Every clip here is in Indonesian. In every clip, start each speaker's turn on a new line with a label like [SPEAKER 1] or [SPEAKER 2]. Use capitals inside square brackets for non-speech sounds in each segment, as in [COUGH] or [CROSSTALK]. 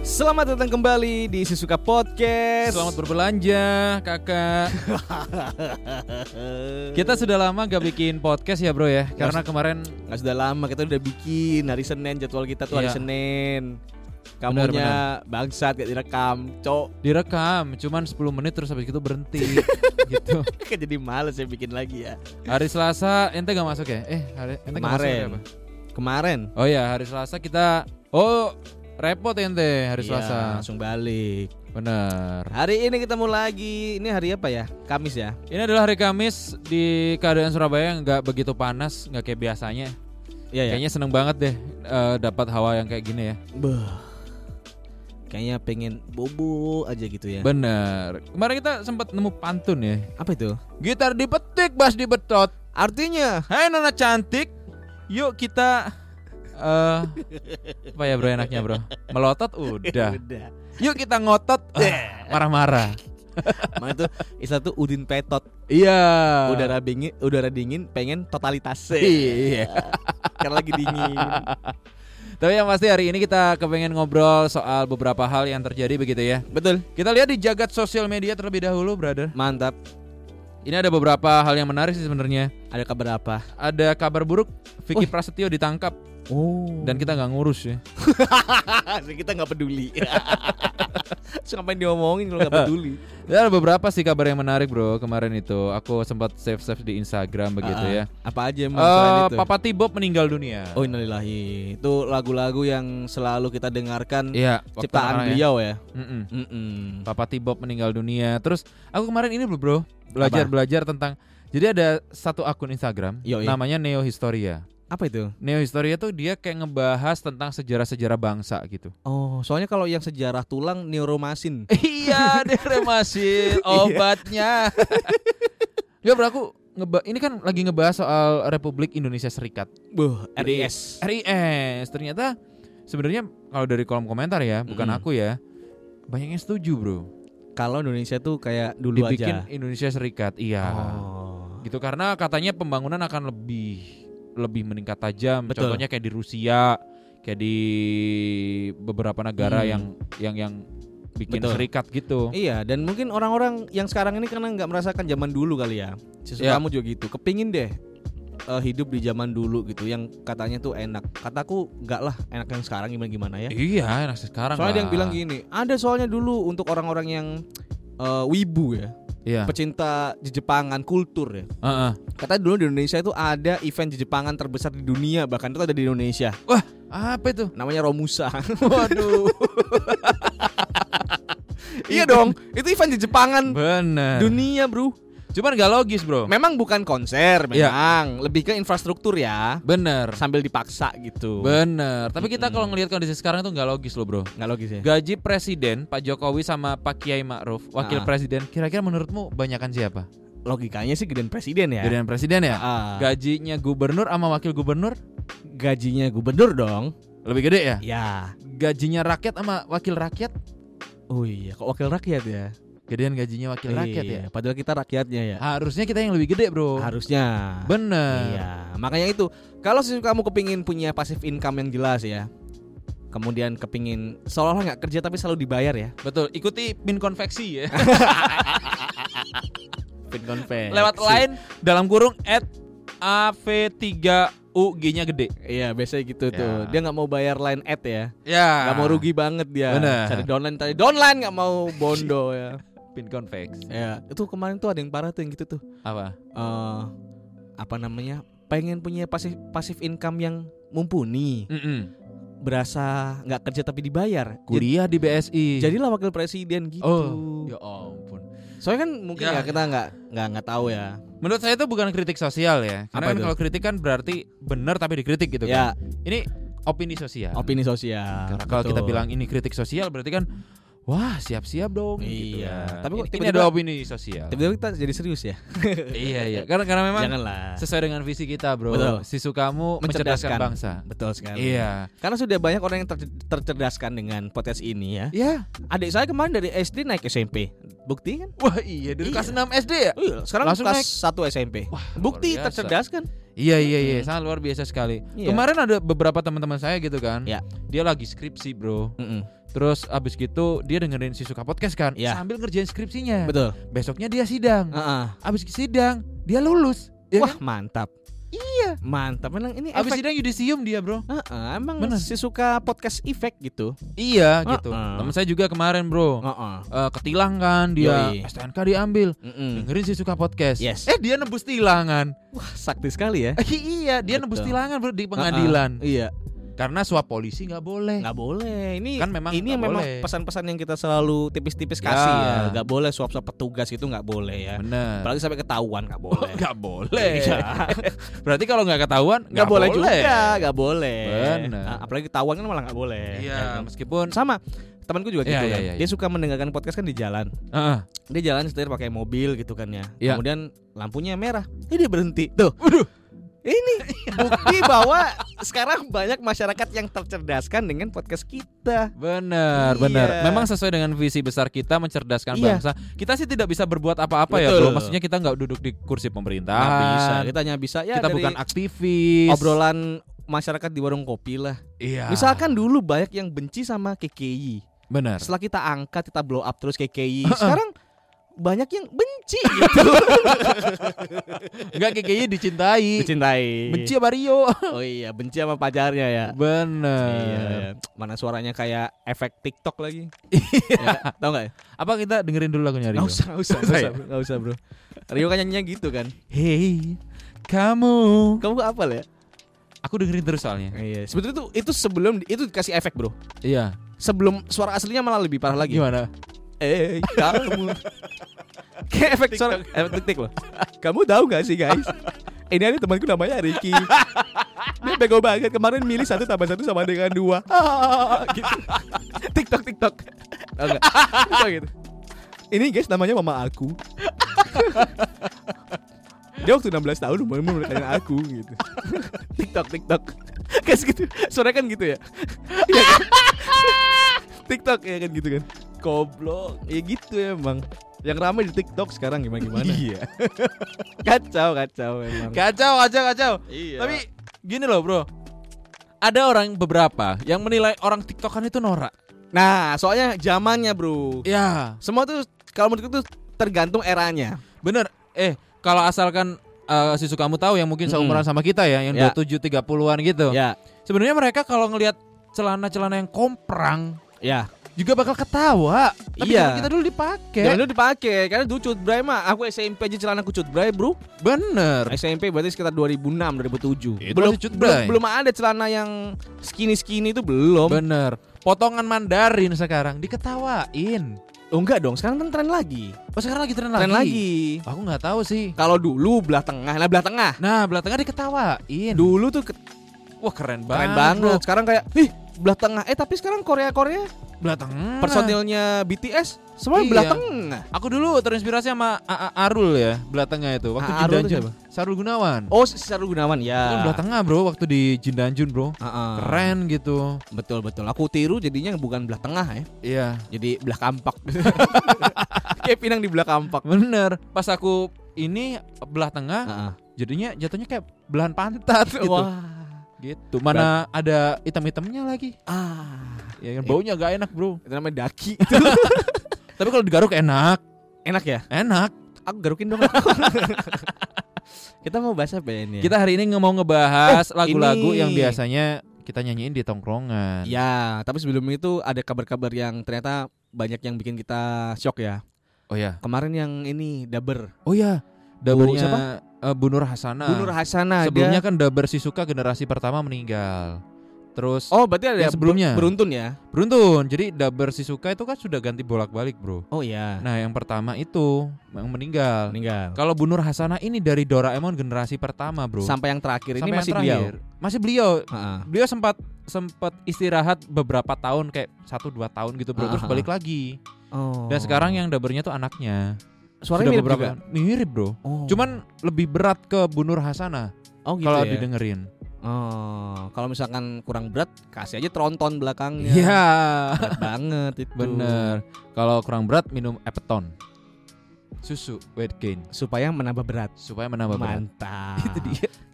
[SPEAKER 1] Selamat datang kembali di Sisuka Podcast.
[SPEAKER 2] Selamat berbelanja, kakak. Kita sudah lama gak bikin podcast ya bro ya, karena kemarin
[SPEAKER 1] [LAUGHS] Nggak sudah lama kita udah bikin hari Senin jadwal kita tuh hari
[SPEAKER 2] Iya.
[SPEAKER 1] Senin. Kamunya bangsat gak direkam, cok. [LAUGHS]
[SPEAKER 2] direkam, cuman 10 menit terus habis itu berhenti. gitu.
[SPEAKER 1] Jadi males ya bikin lagi ya.
[SPEAKER 2] Hari Selasa ente gak masuk ya? Eh, hari ente nggak masuk
[SPEAKER 1] Kemarin.
[SPEAKER 2] hari apa?
[SPEAKER 1] Kemarin.
[SPEAKER 2] Oh ya, hari Selasa kita Oh, repot ente hari
[SPEAKER 1] Iya,
[SPEAKER 2] Selasa.
[SPEAKER 1] langsung balik.
[SPEAKER 2] Bener.
[SPEAKER 1] Hari ini ketemu lagi. Ini hari apa ya? Kamis ya.
[SPEAKER 2] Ini adalah hari Kamis di keadaan Surabaya yang nggak begitu panas, nggak kayak biasanya.
[SPEAKER 1] Iya ya.
[SPEAKER 2] Kayaknya seneng banget deh eh, dapat hawa yang kayak gini ya.
[SPEAKER 1] Beuh. Kayaknya pengen bobo aja gitu ya.
[SPEAKER 2] Bener. Kemarin kita sempat nemu pantun ya.
[SPEAKER 1] apa itu?
[SPEAKER 2] Gitar dipetik, bass dibetot.
[SPEAKER 1] Artinya
[SPEAKER 2] Hai Nona cantik, yuk kita eh apa ya bro enaknya bro? Melotot udah.
[SPEAKER 1] udah.
[SPEAKER 2] Yuk kita ngotot. Ah, Marah-marah.
[SPEAKER 1] Makanya tuh istilah tuh Udin Petot.
[SPEAKER 2] Iya.
[SPEAKER 1] udara dingin udara dingin pengen totalitas
[SPEAKER 2] Iya.
[SPEAKER 1] [LAUGHS] karena lagi dingin
[SPEAKER 2] Tapi yang pasti hari ini kita kepengen ngobrol soal beberapa hal yang terjadi begitu ya.
[SPEAKER 1] [LAUGHS] betul
[SPEAKER 2] Kita lihat di jagat sosial media terlebih dahulu, brother.
[SPEAKER 1] mantap
[SPEAKER 2] Ini ada beberapa hal yang menarik sih sebenarnya.
[SPEAKER 1] ada kabar apa
[SPEAKER 2] Ada kabar buruk, Vicky Prasetyo ditangkap
[SPEAKER 1] oh [LAUGHS]
[SPEAKER 2] dan kita nggak ngurus ya.
[SPEAKER 1] kita nggak peduli [LAUGHS] so, ngapain diomongin [LAUGHS] kalau nggak peduli
[SPEAKER 2] Ya, ada beberapa sih kabar yang menarik bro kemarin itu. Aku sempat save save di Instagram begitu
[SPEAKER 1] Ah,
[SPEAKER 2] ya.
[SPEAKER 1] apa aja emang selain
[SPEAKER 2] Eh
[SPEAKER 1] itu
[SPEAKER 2] Papa Bob meninggal dunia.
[SPEAKER 1] oh innalillahi itu lagu-lagu yang selalu kita dengarkan
[SPEAKER 2] Iya. waktu anak-anak
[SPEAKER 1] ciptaan
[SPEAKER 2] ya.
[SPEAKER 1] beliau ya
[SPEAKER 2] Mm-mm.
[SPEAKER 1] Mm-mm.
[SPEAKER 2] Papa Bob meninggal dunia. Terus aku kemarin ini bro, bro belajar belajar tentang. Jadi ada satu akun Instagram
[SPEAKER 1] Yoi.
[SPEAKER 2] namanya Neo Historia.
[SPEAKER 1] apa itu
[SPEAKER 2] Neo Historia tuh dia kayak ngebahas tentang sejarah-sejarah bangsa
[SPEAKER 1] [LAUGHS]
[SPEAKER 2] gitu.
[SPEAKER 1] oh soalnya kalau yang sejarah tulang neuromasin
[SPEAKER 2] iya, [LAUGHS] dermasin [LAUGHS] obatnya. Enggak Iya. Ya, bro, aku ngeba- ini kan lagi ngebahas soal Republik Indonesia Serikat.
[SPEAKER 1] buh
[SPEAKER 2] Jadi-
[SPEAKER 1] RIS
[SPEAKER 2] RIS eh, ternyata sebenarnya kalau dari kolom komentar ya, bukan
[SPEAKER 1] Mm-mm.
[SPEAKER 2] aku ya. Banyak yang setuju, Bro.
[SPEAKER 1] kalau Indonesia tuh kayak dulu
[SPEAKER 2] Dibikin
[SPEAKER 1] aja
[SPEAKER 2] Indonesia Serikat. Iya.
[SPEAKER 1] oh
[SPEAKER 2] Gitu karena katanya pembangunan akan lebih lebih meningkat tajam.
[SPEAKER 1] Betul.
[SPEAKER 2] Contohnya kayak di Rusia, kayak di beberapa negara
[SPEAKER 1] Hmm.
[SPEAKER 2] yang yang yang bikin
[SPEAKER 1] Betul.
[SPEAKER 2] serikat gitu.
[SPEAKER 1] Iya, dan mungkin orang-orang yang sekarang ini karena nggak merasakan zaman dulu kali ya. Siswa
[SPEAKER 2] Iya.
[SPEAKER 1] kamu juga gitu, kepingin deh eh, hidup di zaman dulu gitu, yang katanya tuh enak. Kataku nggak lah, enak yang sekarang gimana gimana ya.
[SPEAKER 2] Iya, nah sekarang
[SPEAKER 1] Soalnya ada yang
[SPEAKER 2] lah.
[SPEAKER 1] bilang gitu. gini, ada soalnya dulu untuk orang-orang yang eh, wibu ya,
[SPEAKER 2] Iya.
[SPEAKER 1] pecinta Jejepangan kultur ya.
[SPEAKER 2] Heeh.
[SPEAKER 1] Katanya dulu di Indonesia itu ada event Jejepangan terbesar di dunia, bahkan itu ada di Indonesia.
[SPEAKER 2] Apa itu?
[SPEAKER 1] Namanya Romusa. [LAUGHS]
[SPEAKER 2] Waduh.
[SPEAKER 1] iya dong, itu event Jejepangan
[SPEAKER 2] [LAUGHS] Bener.
[SPEAKER 1] dunia, Bro.
[SPEAKER 2] Cuman gak logis, Bro.
[SPEAKER 1] Memang bukan konser,
[SPEAKER 2] Iya.
[SPEAKER 1] memang lebih ke infrastruktur ya.
[SPEAKER 2] Bener.
[SPEAKER 1] sambil dipaksa gitu.
[SPEAKER 2] Bener. Tapi kita
[SPEAKER 1] Mm-mm.
[SPEAKER 2] kalau ngelihat kondisi sekarang tuh nggak logis loh bro.
[SPEAKER 1] Nggak logis ya?
[SPEAKER 2] Gaji presiden Pak Jokowi sama Pak Kiai Ma'ruf wakil
[SPEAKER 1] Ah.
[SPEAKER 2] presiden. Kira-kira menurutmu banyakan siapa?
[SPEAKER 1] Logikanya sih gedean presiden ya.
[SPEAKER 2] Gedean presiden ya.
[SPEAKER 1] Ah,
[SPEAKER 2] Gajinya gubernur sama wakil gubernur
[SPEAKER 1] gajinya gubernur dong.
[SPEAKER 2] lebih gede ya.
[SPEAKER 1] Ya.
[SPEAKER 2] Gajinya rakyat sama wakil rakyat
[SPEAKER 1] Oh iya, kok wakil rakyat ya?
[SPEAKER 2] gedean gajinya wakil rakyat ya.
[SPEAKER 1] Iya, Padahal kita rakyatnya ya.
[SPEAKER 2] Harusnya kita yang lebih gede
[SPEAKER 1] Oh.
[SPEAKER 2] bro.
[SPEAKER 1] Harusnya.
[SPEAKER 2] Bener.
[SPEAKER 1] Iya, makanya itu. Kalau sih kamu kepingin punya passive income yang jelas ya. Kemudian kepingin seolah-olah nggak kerja tapi selalu dibayar ya.
[SPEAKER 2] Betul. Ikuti pin konveksi ya.
[SPEAKER 1] Lewat Eh,
[SPEAKER 2] [LAUGHS] Lewat
[SPEAKER 1] lain.
[SPEAKER 2] line dalam kurung at AV3UG-nya gede.
[SPEAKER 1] Iya, biasanya gitu
[SPEAKER 2] Ya.
[SPEAKER 1] tuh. Dia nggak mau bayar line ad ya.
[SPEAKER 2] Ya.
[SPEAKER 1] Nggak mau rugi banget dia.
[SPEAKER 2] Bener.
[SPEAKER 1] Cari downline, cari downline nggak mau
[SPEAKER 2] [LAUGHS]
[SPEAKER 1] bondo ya.
[SPEAKER 2] Pin konveksi.
[SPEAKER 1] Ya, itu kemarin tuh ada yang parah tuh yang gitu tuh.
[SPEAKER 2] Apa?
[SPEAKER 1] Eh apa namanya? Pengen punya pasif pasif income yang mumpuni,
[SPEAKER 2] Mm-mm.
[SPEAKER 1] berasa nggak kerja tapi dibayar. Jadi,
[SPEAKER 2] Kuliah di BSI.
[SPEAKER 1] jadilah wakil presiden gitu.
[SPEAKER 2] Oh, ya ampun.
[SPEAKER 1] Soalnya kan mungkin
[SPEAKER 2] Ya,
[SPEAKER 1] ya, kita nggak nggak nggak tahu ya.
[SPEAKER 2] Menurut saya itu bukan kritik sosial ya. Karena
[SPEAKER 1] Apa
[SPEAKER 2] kan
[SPEAKER 1] itu?
[SPEAKER 2] kalau kritik kan berarti benar tapi dikritik gitu
[SPEAKER 1] ya,
[SPEAKER 2] kan. Ini opini sosial.
[SPEAKER 1] opini sosial.
[SPEAKER 2] Karena kalau kita
[SPEAKER 1] Betul.
[SPEAKER 2] bilang ini kritik sosial berarti kan wah, siap-siap dong gitu
[SPEAKER 1] Iya.
[SPEAKER 2] kan.
[SPEAKER 1] Tapi kok
[SPEAKER 2] ini, ini
[SPEAKER 1] tiba-tiba-
[SPEAKER 2] ada opini sosial.
[SPEAKER 1] tiba-tiba kita jadi serius ya.
[SPEAKER 2] iya, iya. Karena karena memang
[SPEAKER 1] Janganlah.
[SPEAKER 2] sesuai dengan visi kita, Bro.
[SPEAKER 1] Betul.
[SPEAKER 2] Sisu kamu
[SPEAKER 1] Mencerdaskan.
[SPEAKER 2] mencerdaskan, bangsa.
[SPEAKER 1] Betul sekali.
[SPEAKER 2] Iya.
[SPEAKER 1] Karena sudah banyak orang yang ter- tercerdaskan dengan podcast ini ya.
[SPEAKER 2] Iya.
[SPEAKER 1] Adik saya kemarin dari SD naik SMP. Bukti kan?
[SPEAKER 2] Wah, iya dari
[SPEAKER 1] Iya.
[SPEAKER 2] kelas 6 SD ya?
[SPEAKER 1] Iya, sekarang
[SPEAKER 2] Langsung
[SPEAKER 1] kelas 1 SMP. Bukti
[SPEAKER 2] luar biasa.
[SPEAKER 1] tercerdas kan?
[SPEAKER 2] Iya iya iya
[SPEAKER 1] Mm.
[SPEAKER 2] sangat luar biasa sekali.
[SPEAKER 1] Iya.
[SPEAKER 2] Kemarin ada beberapa teman-teman saya gitu kan.
[SPEAKER 1] Iya. Nah.
[SPEAKER 2] Dia lagi skripsi bro. Terus abis gitu dia dengerin si suka podcast kan
[SPEAKER 1] Iya.
[SPEAKER 2] sambil ngerjain skripsinya.
[SPEAKER 1] Betul.
[SPEAKER 2] Besoknya dia sidang.
[SPEAKER 1] Heeh.
[SPEAKER 2] Abis sidang dia lulus. Ya
[SPEAKER 1] Wah
[SPEAKER 2] kan?
[SPEAKER 1] mantap. Iya. Mantap. Memang ini
[SPEAKER 2] Abis
[SPEAKER 1] efek.
[SPEAKER 2] sidang yudisium dia bro.
[SPEAKER 1] Heeh, emang
[SPEAKER 2] Bener.
[SPEAKER 1] si suka podcast efek gitu.
[SPEAKER 2] Iya gitu.
[SPEAKER 1] Heeh.
[SPEAKER 2] Temen saya juga kemarin bro.
[SPEAKER 1] Heeh.
[SPEAKER 2] Eh, ketilang kan dia
[SPEAKER 1] Yoi.
[SPEAKER 2] STNK diambil.
[SPEAKER 1] Mm-mm.
[SPEAKER 2] Dengerin si suka podcast.
[SPEAKER 1] Yes.
[SPEAKER 2] Eh dia nebus
[SPEAKER 1] [LAUGHS]
[SPEAKER 2] tilangan.
[SPEAKER 1] Wah sakti sekali ya.
[SPEAKER 2] iya dia nebus
[SPEAKER 1] Betul.
[SPEAKER 2] tilangan bro di pengadilan.
[SPEAKER 1] Heeh. Iya.
[SPEAKER 2] Karena suap polisi nggak boleh.
[SPEAKER 1] Nggak boleh. Ini
[SPEAKER 2] Kan memang
[SPEAKER 1] ini
[SPEAKER 2] nggak
[SPEAKER 1] memang
[SPEAKER 2] boleh.
[SPEAKER 1] pesan-pesan yang kita selalu tipis-tipis
[SPEAKER 2] Ya.
[SPEAKER 1] kasih ya. Nggak boleh suap-suap petugas itu nggak boleh ya.
[SPEAKER 2] Bener.
[SPEAKER 1] Apalagi sampai ketahuan nggak boleh.
[SPEAKER 2] [LAUGHS] Nggak boleh.
[SPEAKER 1] Iya.
[SPEAKER 2] [LAUGHS] Berarti kalau nggak ketahuan
[SPEAKER 1] Nggak boleh juga, nggak boleh.
[SPEAKER 2] Benar.
[SPEAKER 1] Nah, apalagi ketahuan kan malah nggak boleh. Ya
[SPEAKER 2] Iya,
[SPEAKER 1] kan?
[SPEAKER 2] meskipun
[SPEAKER 1] Sama temanku juga gitu
[SPEAKER 2] Iya, iya,
[SPEAKER 1] kan.
[SPEAKER 2] iya,
[SPEAKER 1] Dia suka mendengarkan podcast kan di jalan.
[SPEAKER 2] Heeh.
[SPEAKER 1] dia jalan setir pakai mobil gitu kan ya.
[SPEAKER 2] Iya.
[SPEAKER 1] Kemudian lampunya merah. Eh dia berhenti. Tuh.
[SPEAKER 2] Waduh. [LAUGHS]
[SPEAKER 1] Ini
[SPEAKER 2] Iya.
[SPEAKER 1] bukti bahwa sekarang banyak masyarakat yang tercerdaskan dengan podcast kita.
[SPEAKER 2] benar,
[SPEAKER 1] Iya.
[SPEAKER 2] benar. Memang sesuai dengan visi besar kita mencerdaskan
[SPEAKER 1] Iya.
[SPEAKER 2] bangsa. Kita sih tidak bisa berbuat apa-apa ya,
[SPEAKER 1] Betul.
[SPEAKER 2] Bro. Maksudnya kita nggak duduk di
[SPEAKER 1] Nggak bisa,
[SPEAKER 2] kursi
[SPEAKER 1] Ah.
[SPEAKER 2] pemerintahan.
[SPEAKER 1] kita hanya bisa ya
[SPEAKER 2] kita
[SPEAKER 1] dari
[SPEAKER 2] bukan aktivis.
[SPEAKER 1] obrolan masyarakat di warung kopi lah.
[SPEAKER 2] Iya.
[SPEAKER 1] Misalkan dulu banyak yang benci sama KKI.
[SPEAKER 2] benar.
[SPEAKER 1] Setelah kita angkat, kita blow up terus KKI. Sekarang banyak yang benci [LAUGHS] gitu.
[SPEAKER 2] Enggak kayaknya dicintai.
[SPEAKER 1] Mencintai.
[SPEAKER 2] Benci sama Rio.
[SPEAKER 1] [LAUGHS] Oh iya, benci sama pacarnya ya. Iya,
[SPEAKER 2] Benar.
[SPEAKER 1] iya. mana suaranya kayak efek TikTok lagi. Iya, Tahu nggak? ya?
[SPEAKER 2] Apa kita dengerin dulu lagunya Rio?
[SPEAKER 1] Nggak usah, nggak usah, nggak usah, bro. Nggak usah, bro. Rio kan nyanyinya gitu kan.
[SPEAKER 2] Hey, kamu.
[SPEAKER 1] Kamu apa ya?
[SPEAKER 2] Aku dengerin terus soalnya.
[SPEAKER 1] Iya. Sebetulnya itu itu sebelum itu kasih efek bro.
[SPEAKER 2] Iya.
[SPEAKER 1] Sebelum suara aslinya malah lebih parah lagi.
[SPEAKER 2] Gimana?
[SPEAKER 1] Eh kamu. Kayak efek suara efek tik loh. Kamu tahu nggak sih guys? Ini ada temanku namanya [LAUGHS] Ricky. Dia bego banget kemarin milih satu tambah satu sama dengan dua. [LAUGHS] gitu. TikTok TikTok. Tahu nggak? Tahu Oh, gitu. Ini guys namanya mama [LAUGHS] aku. Dia waktu 16 tahun umurnya menikahkan aku gitu. [LAUGHS] TikTok TikTok. [LAUGHS] Guys gitu. Suaranya kan [LAUGHS] gitu ya. Iya kan? TikTok ya kan gitu kan. Goblok. Ya gitu emang. Yang ramai di TikTok sekarang gimana gimana.
[SPEAKER 2] Iya.
[SPEAKER 1] [LAUGHS] kacau kacau emang.
[SPEAKER 2] Kacau, kacau, kacau.
[SPEAKER 1] Iya.
[SPEAKER 2] Tapi gini loh, Bro. Ada orang beberapa yang menilai orang TikTokan itu norak.
[SPEAKER 1] nah, soalnya zamannya, Bro.
[SPEAKER 2] Ya,
[SPEAKER 1] Semua tuh kalau menurutku tuh tergantung eranya.
[SPEAKER 2] bener. Eh, kalau asalkan eh, sisu kamu tahu yang mungkin
[SPEAKER 1] Mm-mm.
[SPEAKER 2] seumuran sama kita ya, yang
[SPEAKER 1] Ya.
[SPEAKER 2] 27 30-an gitu.
[SPEAKER 1] Ya,
[SPEAKER 2] Sebenarnya mereka kalau ngelihat celana-celana yang komprang
[SPEAKER 1] ya.
[SPEAKER 2] juga bakal ketawa. Tapi
[SPEAKER 1] Iya.
[SPEAKER 2] zaman kita dulu dipakai.
[SPEAKER 1] Jangan dulu dipakai karena dulu cut bray mah aku SMP aja celana aku cut bray, Bro.
[SPEAKER 2] Bener.
[SPEAKER 1] SMP berarti sekitar 2006 2007.
[SPEAKER 2] Itu
[SPEAKER 1] belum,
[SPEAKER 2] masih cut
[SPEAKER 1] belum
[SPEAKER 2] bray.
[SPEAKER 1] belum ada celana yang skinny-skinny itu belum.
[SPEAKER 2] Bener. Potongan Mandarin sekarang diketawain.
[SPEAKER 1] oh enggak dong, sekarang kan tren lagi.
[SPEAKER 2] Oh, sekarang lagi tren lagi.
[SPEAKER 1] Tren lagi.
[SPEAKER 2] Aku nggak tahu sih.
[SPEAKER 1] Kalau dulu belah tengah, nah belah tengah.
[SPEAKER 2] Nah, belah tengah diketawain.
[SPEAKER 1] Dulu tuh ke-
[SPEAKER 2] Wah, keren banget.
[SPEAKER 1] keren
[SPEAKER 2] bro.
[SPEAKER 1] banget. Sekarang kayak, ih belah tengah. Eh tapi sekarang Korea Korea
[SPEAKER 2] belah tengah.
[SPEAKER 1] personilnya BTS semua
[SPEAKER 2] Iya.
[SPEAKER 1] belah tengah.
[SPEAKER 2] Aku dulu terinspirasi sama AA Arul ya, belah tengah itu. Waktu
[SPEAKER 1] AA Arul itu
[SPEAKER 2] Jindanjun. Sarul Gunawan.
[SPEAKER 1] Oh, si Sarul Gunawan ya.
[SPEAKER 2] Itu kan belah tengah, Bro, waktu di Jindanjun, Bro.
[SPEAKER 1] Heeh.
[SPEAKER 2] Keren gitu.
[SPEAKER 1] Betul betul. Aku tiru jadinya bukan belah tengah ya.
[SPEAKER 2] Iya.
[SPEAKER 1] Jadi belah [LAUGHS] kampak. Kayak pinang di belah kampak.
[SPEAKER 2] Bener. Pas aku ini belah tengah,
[SPEAKER 1] Heeh.
[SPEAKER 2] jadinya jatuhnya kayak belahan pantat
[SPEAKER 1] [LAUGHS]
[SPEAKER 2] gitu.
[SPEAKER 1] Ah. Wah.
[SPEAKER 2] Gitu. Mana ada item-itemnya lagi.
[SPEAKER 1] Ah.
[SPEAKER 2] Ya kan baunya gak enak, Bro.
[SPEAKER 1] Itu namanya daki.
[SPEAKER 2] Tapi kalau digaruk enak.
[SPEAKER 1] [LAUGHS] Enak ya?
[SPEAKER 2] Enak.
[SPEAKER 1] Aku garukin [LAUGHS] dong. Kita mau bahas apa ya ini? ya?
[SPEAKER 2] Kita hari ini nge- mau ngebahas
[SPEAKER 1] Oh,
[SPEAKER 2] lagu-lagu
[SPEAKER 1] ini.
[SPEAKER 2] yang biasanya kita nyanyiin di tongkrongan.
[SPEAKER 1] Ya, tapi sebelum itu ada kabar-kabar yang ternyata banyak yang bikin kita shock ya.
[SPEAKER 2] Oh ya.
[SPEAKER 1] Kemarin yang ini Daber,
[SPEAKER 2] Oh ya.
[SPEAKER 1] Bu-
[SPEAKER 2] Dabernya
[SPEAKER 1] siapa?
[SPEAKER 2] eh, Bu Nur Hasanah.
[SPEAKER 1] Bunur Hasanah
[SPEAKER 2] Sebelumnya
[SPEAKER 1] dia.
[SPEAKER 2] kan Daber Sisuka generasi pertama meninggal. Terus
[SPEAKER 1] Oh, berarti ada
[SPEAKER 2] Yang sebelumnya.
[SPEAKER 1] beruntun ya.
[SPEAKER 2] beruntun. Jadi Daber Sisuka itu kan sudah ganti bolak-balik, Bro.
[SPEAKER 1] Oh iya.
[SPEAKER 2] Nah, yang pertama itu yang meninggal.
[SPEAKER 1] meninggal.
[SPEAKER 2] Kalau Bu Nur Hasanah ini dari Doraemon generasi pertama, Bro.
[SPEAKER 1] Sampai yang terakhir ini
[SPEAKER 2] Sampai yang
[SPEAKER 1] masih
[SPEAKER 2] terakhir. Masih beliau.
[SPEAKER 1] beliau. Ha-ha.
[SPEAKER 2] Beliau sempat sempat istirahat beberapa tahun kayak satu dua tahun gitu, Bro. Terus
[SPEAKER 1] Ah, ah,
[SPEAKER 2] balik lagi.
[SPEAKER 1] Oh.
[SPEAKER 2] Dan sekarang yang Dabernya tuh anaknya.
[SPEAKER 1] suaranya
[SPEAKER 2] Sudah
[SPEAKER 1] mirip
[SPEAKER 2] beberapa
[SPEAKER 1] juga.
[SPEAKER 2] mirip, Bro.
[SPEAKER 1] Oh.
[SPEAKER 2] Cuman lebih berat ke Bu Nur Hasanah
[SPEAKER 1] oh gitu
[SPEAKER 2] kalau
[SPEAKER 1] ya.
[SPEAKER 2] didengerin.
[SPEAKER 1] Oh, kalau misalkan kurang berat kasih aja tronton belakangnya.
[SPEAKER 2] Iya.
[SPEAKER 1] Berat banget itu.
[SPEAKER 2] Bener. Kalau kurang berat minum Epeton. Susu weight gain
[SPEAKER 1] Supaya menambah berat.
[SPEAKER 2] supaya menambah berat.
[SPEAKER 1] Mantap.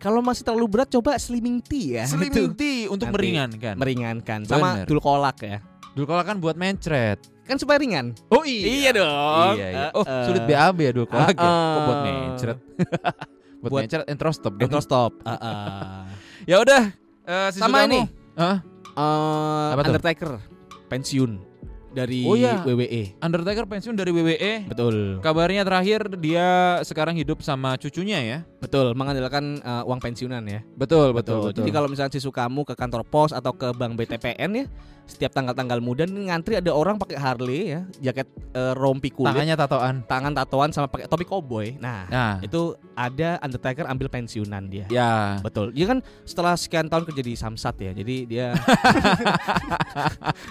[SPEAKER 1] Kalau masih terlalu berat coba slimming tea ya. Itu
[SPEAKER 2] Slimming tea untuk
[SPEAKER 1] Nanti
[SPEAKER 2] meringankan.
[SPEAKER 1] meringankan. Sama
[SPEAKER 2] Bener.
[SPEAKER 1] dul kolak ya.
[SPEAKER 2] Dulkola kan buat mencret.
[SPEAKER 1] Kan supaya ringan.
[SPEAKER 2] Oh
[SPEAKER 3] Iya dong.
[SPEAKER 2] Iya, iya.
[SPEAKER 1] Eh,
[SPEAKER 2] Oh,
[SPEAKER 3] Heeh.
[SPEAKER 2] sulit BAB ya Dulkola. gitu. Kok buat
[SPEAKER 3] Heeh.
[SPEAKER 1] [LAUGHS]
[SPEAKER 2] mencret. buat,
[SPEAKER 1] Buat-
[SPEAKER 2] mencret entrostop. dong.
[SPEAKER 1] Intro stop.
[SPEAKER 2] Ya udah. eh, Shinzo
[SPEAKER 1] Sama
[SPEAKER 2] kamu.
[SPEAKER 1] ini.
[SPEAKER 2] Hah?
[SPEAKER 1] Eh,
[SPEAKER 2] Apa tuh?
[SPEAKER 1] Undertaker
[SPEAKER 3] pensiun dari
[SPEAKER 2] Oh, iya.
[SPEAKER 1] E.
[SPEAKER 3] WWE.
[SPEAKER 2] Undertaker pensiun dari WWE.
[SPEAKER 3] Betul.
[SPEAKER 2] Kabarnya terakhir dia sekarang hidup sama cucunya ya.
[SPEAKER 1] betul mengandalkan eh, uang pensiunan ya.
[SPEAKER 2] Betul,
[SPEAKER 1] Jadi kalau misalnya sisu kamu ke kantor pos atau ke bank BTPN ya, setiap tanggal-tanggal muda nih ngantri ada orang pakai Harley ya, jaket eh, rompi kulit,
[SPEAKER 2] tangannya tatoan.
[SPEAKER 1] tangan tatoan sama pakai topi koboi. Nah,
[SPEAKER 2] Nah,
[SPEAKER 1] itu ada Undertaker ambil pensiunan dia.
[SPEAKER 2] ya.
[SPEAKER 1] Betul. Dia kan setelah sekian tahun kerja di Samsat ya. Jadi
[SPEAKER 2] [LAUGHS]
[SPEAKER 1] dia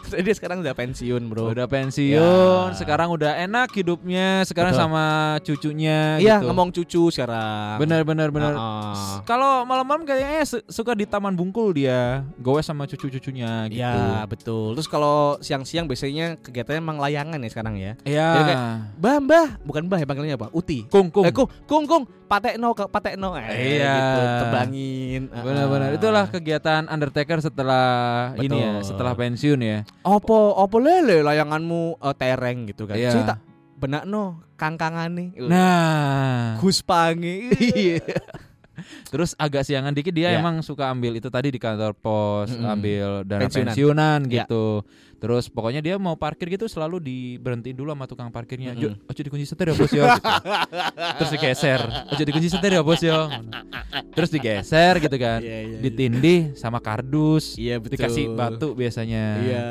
[SPEAKER 1] Jadi dia sekarang udah pensiun, Bro.
[SPEAKER 2] Udah pensiun,
[SPEAKER 1] Ya.
[SPEAKER 2] sekarang udah enak hidupnya, sekarang
[SPEAKER 1] Betul.
[SPEAKER 2] sama cucunya
[SPEAKER 1] Iya,
[SPEAKER 2] gitu.
[SPEAKER 1] ngomong cucu sekarang.
[SPEAKER 2] Bener bener bener.
[SPEAKER 1] Heeh.
[SPEAKER 2] S- Kalau malam-malam kayaknya su- suka di taman bungkul dia, goes sama cucu-cucunya gitu.
[SPEAKER 1] Ya, betul. Terus kalau siang-siang biasanya kegiatannya emang layangan ya sekarang ya.
[SPEAKER 2] Iya.
[SPEAKER 1] Jadi Mbah, mbah, bukan mbah ya panggilnya apa? Uti.
[SPEAKER 2] Kung kung.
[SPEAKER 1] Eh, kung, kung, kung, patekno, ke patekno. Eh,
[SPEAKER 2] Iya.
[SPEAKER 1] gitu, tebangin. Ah.
[SPEAKER 2] bener bener.
[SPEAKER 1] Heeh.
[SPEAKER 2] Itulah kegiatan Undertaker setelah
[SPEAKER 1] Betul.
[SPEAKER 2] ini ya, setelah pensiun ya.
[SPEAKER 1] opo opo lele layanganmu eh, tereng gitu kan.
[SPEAKER 2] Iya.
[SPEAKER 1] Cerita benakno kangkangane.
[SPEAKER 2] Nah,
[SPEAKER 1] Guspangi.
[SPEAKER 2] terus agak siangan dikit dia
[SPEAKER 1] Iya.
[SPEAKER 2] emang suka ambil itu tadi di kantor pos,
[SPEAKER 1] Mm-mm.
[SPEAKER 2] ambil dana
[SPEAKER 1] Pensiunan.
[SPEAKER 2] pensiunan,
[SPEAKER 1] Iya.
[SPEAKER 2] gitu. Terus pokoknya dia mau parkir gitu selalu diberhentiin dulu sama tukang parkirnya. "Jo, Ojo dikunci setir ya, Bos [LAUGHS] yo. gitu. Terus digeser. Ojo dikunci setir ya, Bos yo. Terus digeser gitu kan.
[SPEAKER 1] Iya, iya, iya.
[SPEAKER 2] Ditindih sama kardus.
[SPEAKER 1] Iya betul.
[SPEAKER 2] Dikasih batu biasanya.
[SPEAKER 1] Iya.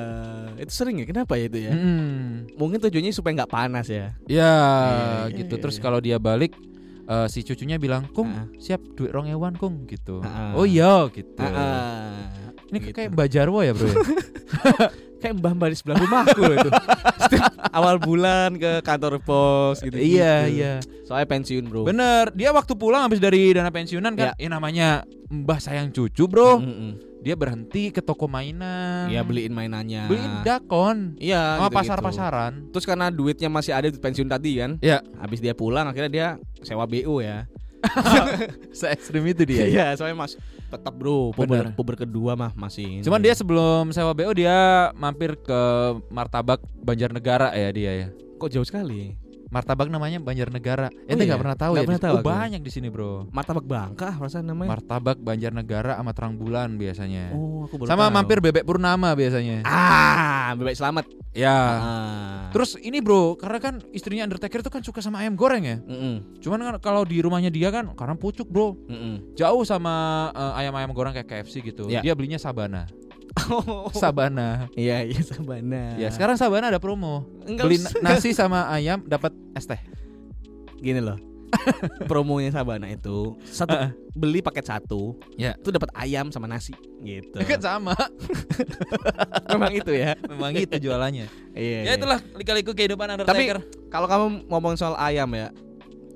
[SPEAKER 1] Itu sering ya. Kenapa ya itu ya?
[SPEAKER 2] Mm-mm.
[SPEAKER 1] Mungkin tujuannya supaya nggak panas ya.
[SPEAKER 2] Ya,
[SPEAKER 1] iya, iya, iya,
[SPEAKER 2] gitu. Terus
[SPEAKER 1] iya.
[SPEAKER 2] kalau dia balik eh, si cucunya bilang, "Kung,
[SPEAKER 1] Ah.
[SPEAKER 2] siap duit rong ewan, Kung." gitu.
[SPEAKER 1] Ah, ah.
[SPEAKER 2] Oh iya, gitu.
[SPEAKER 1] Heeh.
[SPEAKER 2] Ini
[SPEAKER 1] gitu.
[SPEAKER 2] kayak Mbak Jarwo
[SPEAKER 1] [LAUGHS]
[SPEAKER 2] ya, Bro ya?
[SPEAKER 1] Kayak mbah-mbah di sebelah rumahku loh itu. Setiap [LAUGHS] awal bulan ke kantor pos gitu.
[SPEAKER 2] iya, iya.
[SPEAKER 1] Soalnya pensiun, Bro.
[SPEAKER 2] Bener, dia waktu pulang habis dari dana pensiunan
[SPEAKER 1] Ya.
[SPEAKER 2] kan, ya. namanya Mbah sayang cucu, Bro.
[SPEAKER 1] Mm-mm.
[SPEAKER 2] Dia berhenti ke toko mainan.
[SPEAKER 1] Iya, Ah. beliin mainannya.
[SPEAKER 2] Nah. Beliin dakon.
[SPEAKER 1] Iya,
[SPEAKER 2] Sama
[SPEAKER 1] gitu-gitu.
[SPEAKER 2] pasar-pasaran.
[SPEAKER 1] Terus karena duitnya masih ada di pensiun tadi kan.
[SPEAKER 2] Iya.
[SPEAKER 1] Habis dia pulang akhirnya dia sewa BU
[SPEAKER 2] [LAUGHS]
[SPEAKER 1] ya.
[SPEAKER 2] Se ekstrim itu [LAUGHS] dia. ya.
[SPEAKER 1] Iya, soalnya Mas tetap Bro, puber,
[SPEAKER 2] Bener.
[SPEAKER 1] puber kedua mah masih. ini.
[SPEAKER 2] Gitu. Cuman dia sebelum sewa BO dia mampir ke Martabak Banjarnegara ya dia ya.
[SPEAKER 1] kok jauh sekali.
[SPEAKER 2] Martabak namanya Banjarnegara.
[SPEAKER 1] Oh
[SPEAKER 2] Ente
[SPEAKER 1] iya?
[SPEAKER 2] nggak pernah tahu
[SPEAKER 1] Nggak
[SPEAKER 2] ya?
[SPEAKER 1] pernah
[SPEAKER 2] di-
[SPEAKER 1] tahu
[SPEAKER 2] oh,
[SPEAKER 1] aku.
[SPEAKER 2] banyak di sini, Bro.
[SPEAKER 1] Martabak Bangka perasaan namanya.
[SPEAKER 2] Martabak Banjarnegara sama Terang Bulan biasanya.
[SPEAKER 1] oh, aku baru
[SPEAKER 2] sama
[SPEAKER 1] tahu.
[SPEAKER 2] mampir Bebek Purnama biasanya.
[SPEAKER 1] Ah, bebek selamat.
[SPEAKER 2] Ya.
[SPEAKER 1] Ah.
[SPEAKER 2] Terus ini, Bro, karena kan istrinya Undertaker itu kan suka sama ayam goreng ya.
[SPEAKER 1] Mm-mm,
[SPEAKER 2] Cuman kan kalau di rumahnya dia kan karena pucuk, Bro. [LAUGHS]
[SPEAKER 1] mm-mm.
[SPEAKER 2] Jauh sama eh, ayam-ayam goreng kayak KFC gitu.
[SPEAKER 1] Ya. Oh.
[SPEAKER 2] Dia belinya Sabana. Sabana.
[SPEAKER 1] Iya, iya sabana.
[SPEAKER 2] Ya, sekarang Sabana ada promo.
[SPEAKER 1] Enggak
[SPEAKER 2] Beli
[SPEAKER 1] usah.
[SPEAKER 2] nasi sama ayam dapat es teh.
[SPEAKER 1] gini
[SPEAKER 2] [LAUGHS]
[SPEAKER 1] loh. Promonya sabana itu satu beli paket satu,
[SPEAKER 2] Ya.
[SPEAKER 1] itu dapat ayam sama nasi gitu.
[SPEAKER 2] [LAUGHS] Kan sama.
[SPEAKER 1] Memang itu ya.
[SPEAKER 2] Memang gitu jualannya.
[SPEAKER 1] Iya.
[SPEAKER 2] [LAUGHS] ya
[SPEAKER 1] iya.
[SPEAKER 2] itulah lika-liku kehidupan Undertaker.
[SPEAKER 1] Kalau kamu ngomong soal ayam ya,